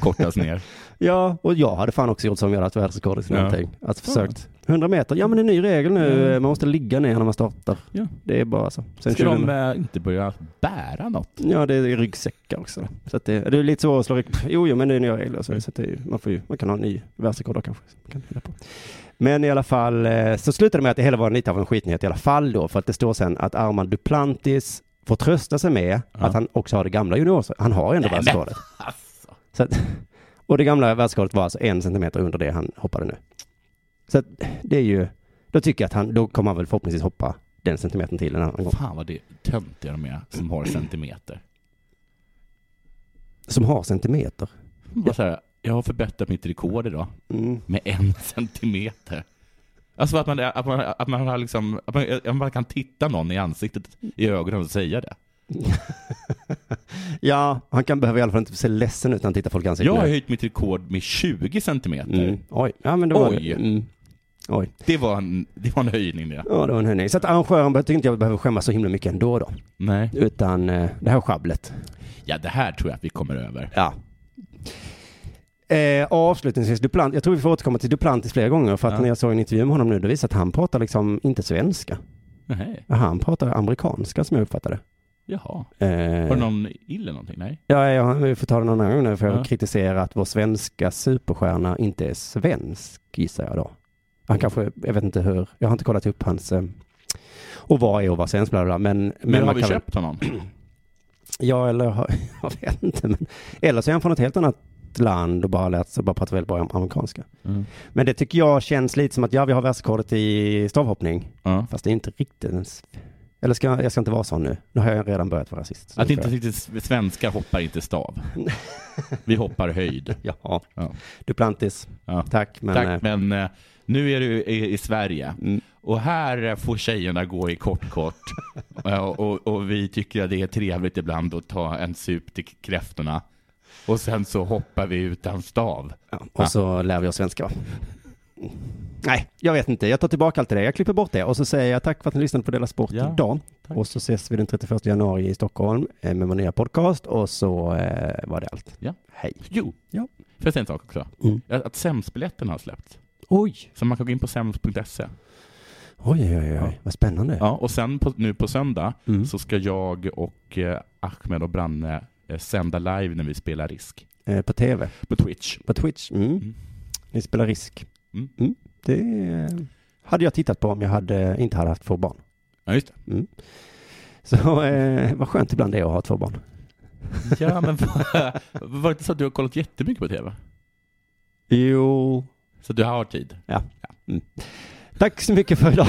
Speaker 4: kortas ner.
Speaker 2: Ja, och jag hade fan också gjort som jag hade haft världsrekordet eller
Speaker 4: Ja.
Speaker 2: någonting. Alltså försökt. 100 meter, ja men det är en ny regel nu. Man måste ligga ner när man startar.
Speaker 4: Ja.
Speaker 2: Det är bara så. Sen
Speaker 4: Ska de
Speaker 2: 2000
Speaker 4: eh, inte börja bära något?
Speaker 2: Ja, det är ryggsäckar också. Så att det, det är lite svårt att slå rygg. Jo, jo, men det är nya regler. Så, så att det, är- man, får ju, man kan ha en ny världsrekord då kanske. Man Kan fylla på. Men i alla fall, eh, så slutade det med att det hela var lite av en skitnyhet i alla fall då. För att det står sen att Armand Duplantis får trösta sig med att han också har det gamla juniors. Han har ju ändå
Speaker 4: Nej, men alltså.
Speaker 2: världsrekordet. Så att, och det gamla världsrekordet var alltså en centimeter under det han hoppade nu. Så att, det är ju, då tycker jag att han, då kommer han väl förhoppningsvis hoppa den centimetern till en annan gång.
Speaker 4: Fan vad det är töntiga de är som har centimeter.
Speaker 2: Som har centimeter.
Speaker 4: Bara så här, jag har förbättrat mitt rekord idag.
Speaker 2: Mm.
Speaker 4: Med en centimeter. Alltså att man, att man, att man, har liksom, att man, att man kan titta någon i ansiktet, i ögonen och säga det.
Speaker 2: Ja, han kan behöva i alla fall inte se ledsen ut när han tittar folk i ansiktet.
Speaker 4: Jag har höjt mitt rekord med 20 centimeter.
Speaker 2: Mm. Oj, ja men det var
Speaker 4: Oj.
Speaker 2: Mm. Oj.
Speaker 4: Det, var en, det var en höjning det.
Speaker 2: Ja, det var en höjning. Så att arrangören tyckte inte jag behöver skämmas så himla mycket ändå då.
Speaker 4: Nej.
Speaker 2: Utan eh, det här schabblet.
Speaker 4: Ja, det här tror jag att vi kommer över.
Speaker 2: Ja. Eh, avslutningsvis, Duplant, jag tror vi får återkomma till Duplantis flera gånger för att
Speaker 4: Ja.
Speaker 2: när jag såg en intervju med honom nu, det visade att han pratar liksom inte svenska.
Speaker 4: Nej.
Speaker 2: Han pratar amerikanska som jag uppfattade.
Speaker 4: Jaha.
Speaker 2: Eh,
Speaker 4: Har du någon ill eller någonting? Nej.
Speaker 2: Ja, ja, vi får ta det någon annan gång nu, för jag
Speaker 4: Ja.
Speaker 2: kritiserar att vår svenska superstjärna inte är svensk, gissar jag då. Han kanske, jag vet inte hur, jag har inte kollat upp hans, eh, och vad är och vad svensk, bla, bla, bla, men...
Speaker 4: Men, har
Speaker 2: man
Speaker 4: vi
Speaker 2: kan väl-
Speaker 4: köpt honom?
Speaker 2: Ja, eller har- jag vet inte, men... Eller så är han från ett helt annat land och bara lärt sig, bara pratar väldigt bra am- amerikanska.
Speaker 4: Mm.
Speaker 2: Men det tycker jag känns lite som att, ja, vi har världsrekordet i stavhoppning, fast det är inte riktigt ens... Eller ska jag, jag ska inte vara sån nu. Nu har jag redan börjat vara rasist. så
Speaker 4: Att
Speaker 2: nu
Speaker 4: inte
Speaker 2: får jag-
Speaker 4: riktigt svenskar hoppar inte stav. Vi hoppar höjd.
Speaker 2: Ja. Duplantis. Tack, men... eh, Mm.
Speaker 4: Tack, men eh, nu är du i, i Sverige. Och här eh, får tjejerna gå i kortkort. Eh, och, och vi tycker att det är trevligt ibland att ta en sup till kräftorna. Och sen så hoppar vi utan stav.
Speaker 2: Och så lär vi oss svenska va? Nej, jag vet inte. Jag tar tillbaka allt det där. Jag klipper bort det och så säger jag tack för att ni lyssnade på Della Sport
Speaker 4: Ja,
Speaker 2: idag. Och så ses vi den 31 januari i Stockholm eh, med vår nya podcast och så eh, var det allt.
Speaker 4: Ja.
Speaker 2: Hej.
Speaker 4: Jo,
Speaker 2: ja. Mm.
Speaker 4: får jag säga en sak också? Att att SEMS-biljetten har släppts.
Speaker 2: Oj.
Speaker 4: Så man kan gå in på sems.se.
Speaker 2: Oj, oj, mm. oj, oj. vad spännande.
Speaker 4: Ja, och sen på, nu på söndag så ska jag och eh, Ahmed och Branne eh, sända live när vi spelar Risk.
Speaker 2: Eh, på tv.
Speaker 4: På Twitch.
Speaker 2: På Twitch. Mm. Ni spelar risk.
Speaker 4: Mm.
Speaker 2: Det eh, hade jag tittat på om jag hade, inte hade haft två barn.
Speaker 4: Ja, just
Speaker 2: det. Mm. Så eh, vad skönt ibland det är att ha två barn.
Speaker 4: Ja, men var det inte så att du har kollat jättemycket på TV?
Speaker 2: Jo.
Speaker 4: Så du har tid?
Speaker 2: Ja. Mm. Tack så mycket för idag.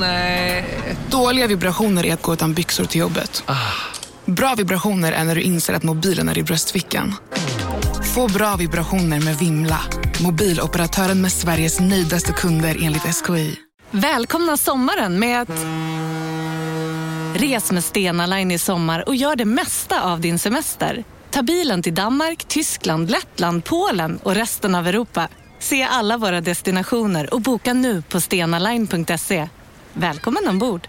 Speaker 9: Nej. eh, Dåliga vibrationer är att gå utan byxor till jobbet. Bra vibrationer är när du inser att mobilen är i bröstfickan. Få bra vibrationer med Vimla. Mobiloperatören med Sveriges nöjdaste kunder enligt SKI.
Speaker 10: Välkomna sommaren med att... Res med Stena Line i sommar och gör det mesta av din semester. Ta bilen till Danmark, Tyskland, Lettland, Polen och resten av Europa. Se alla våra destinationer och boka nu på stenaline.se. Välkommen ombord!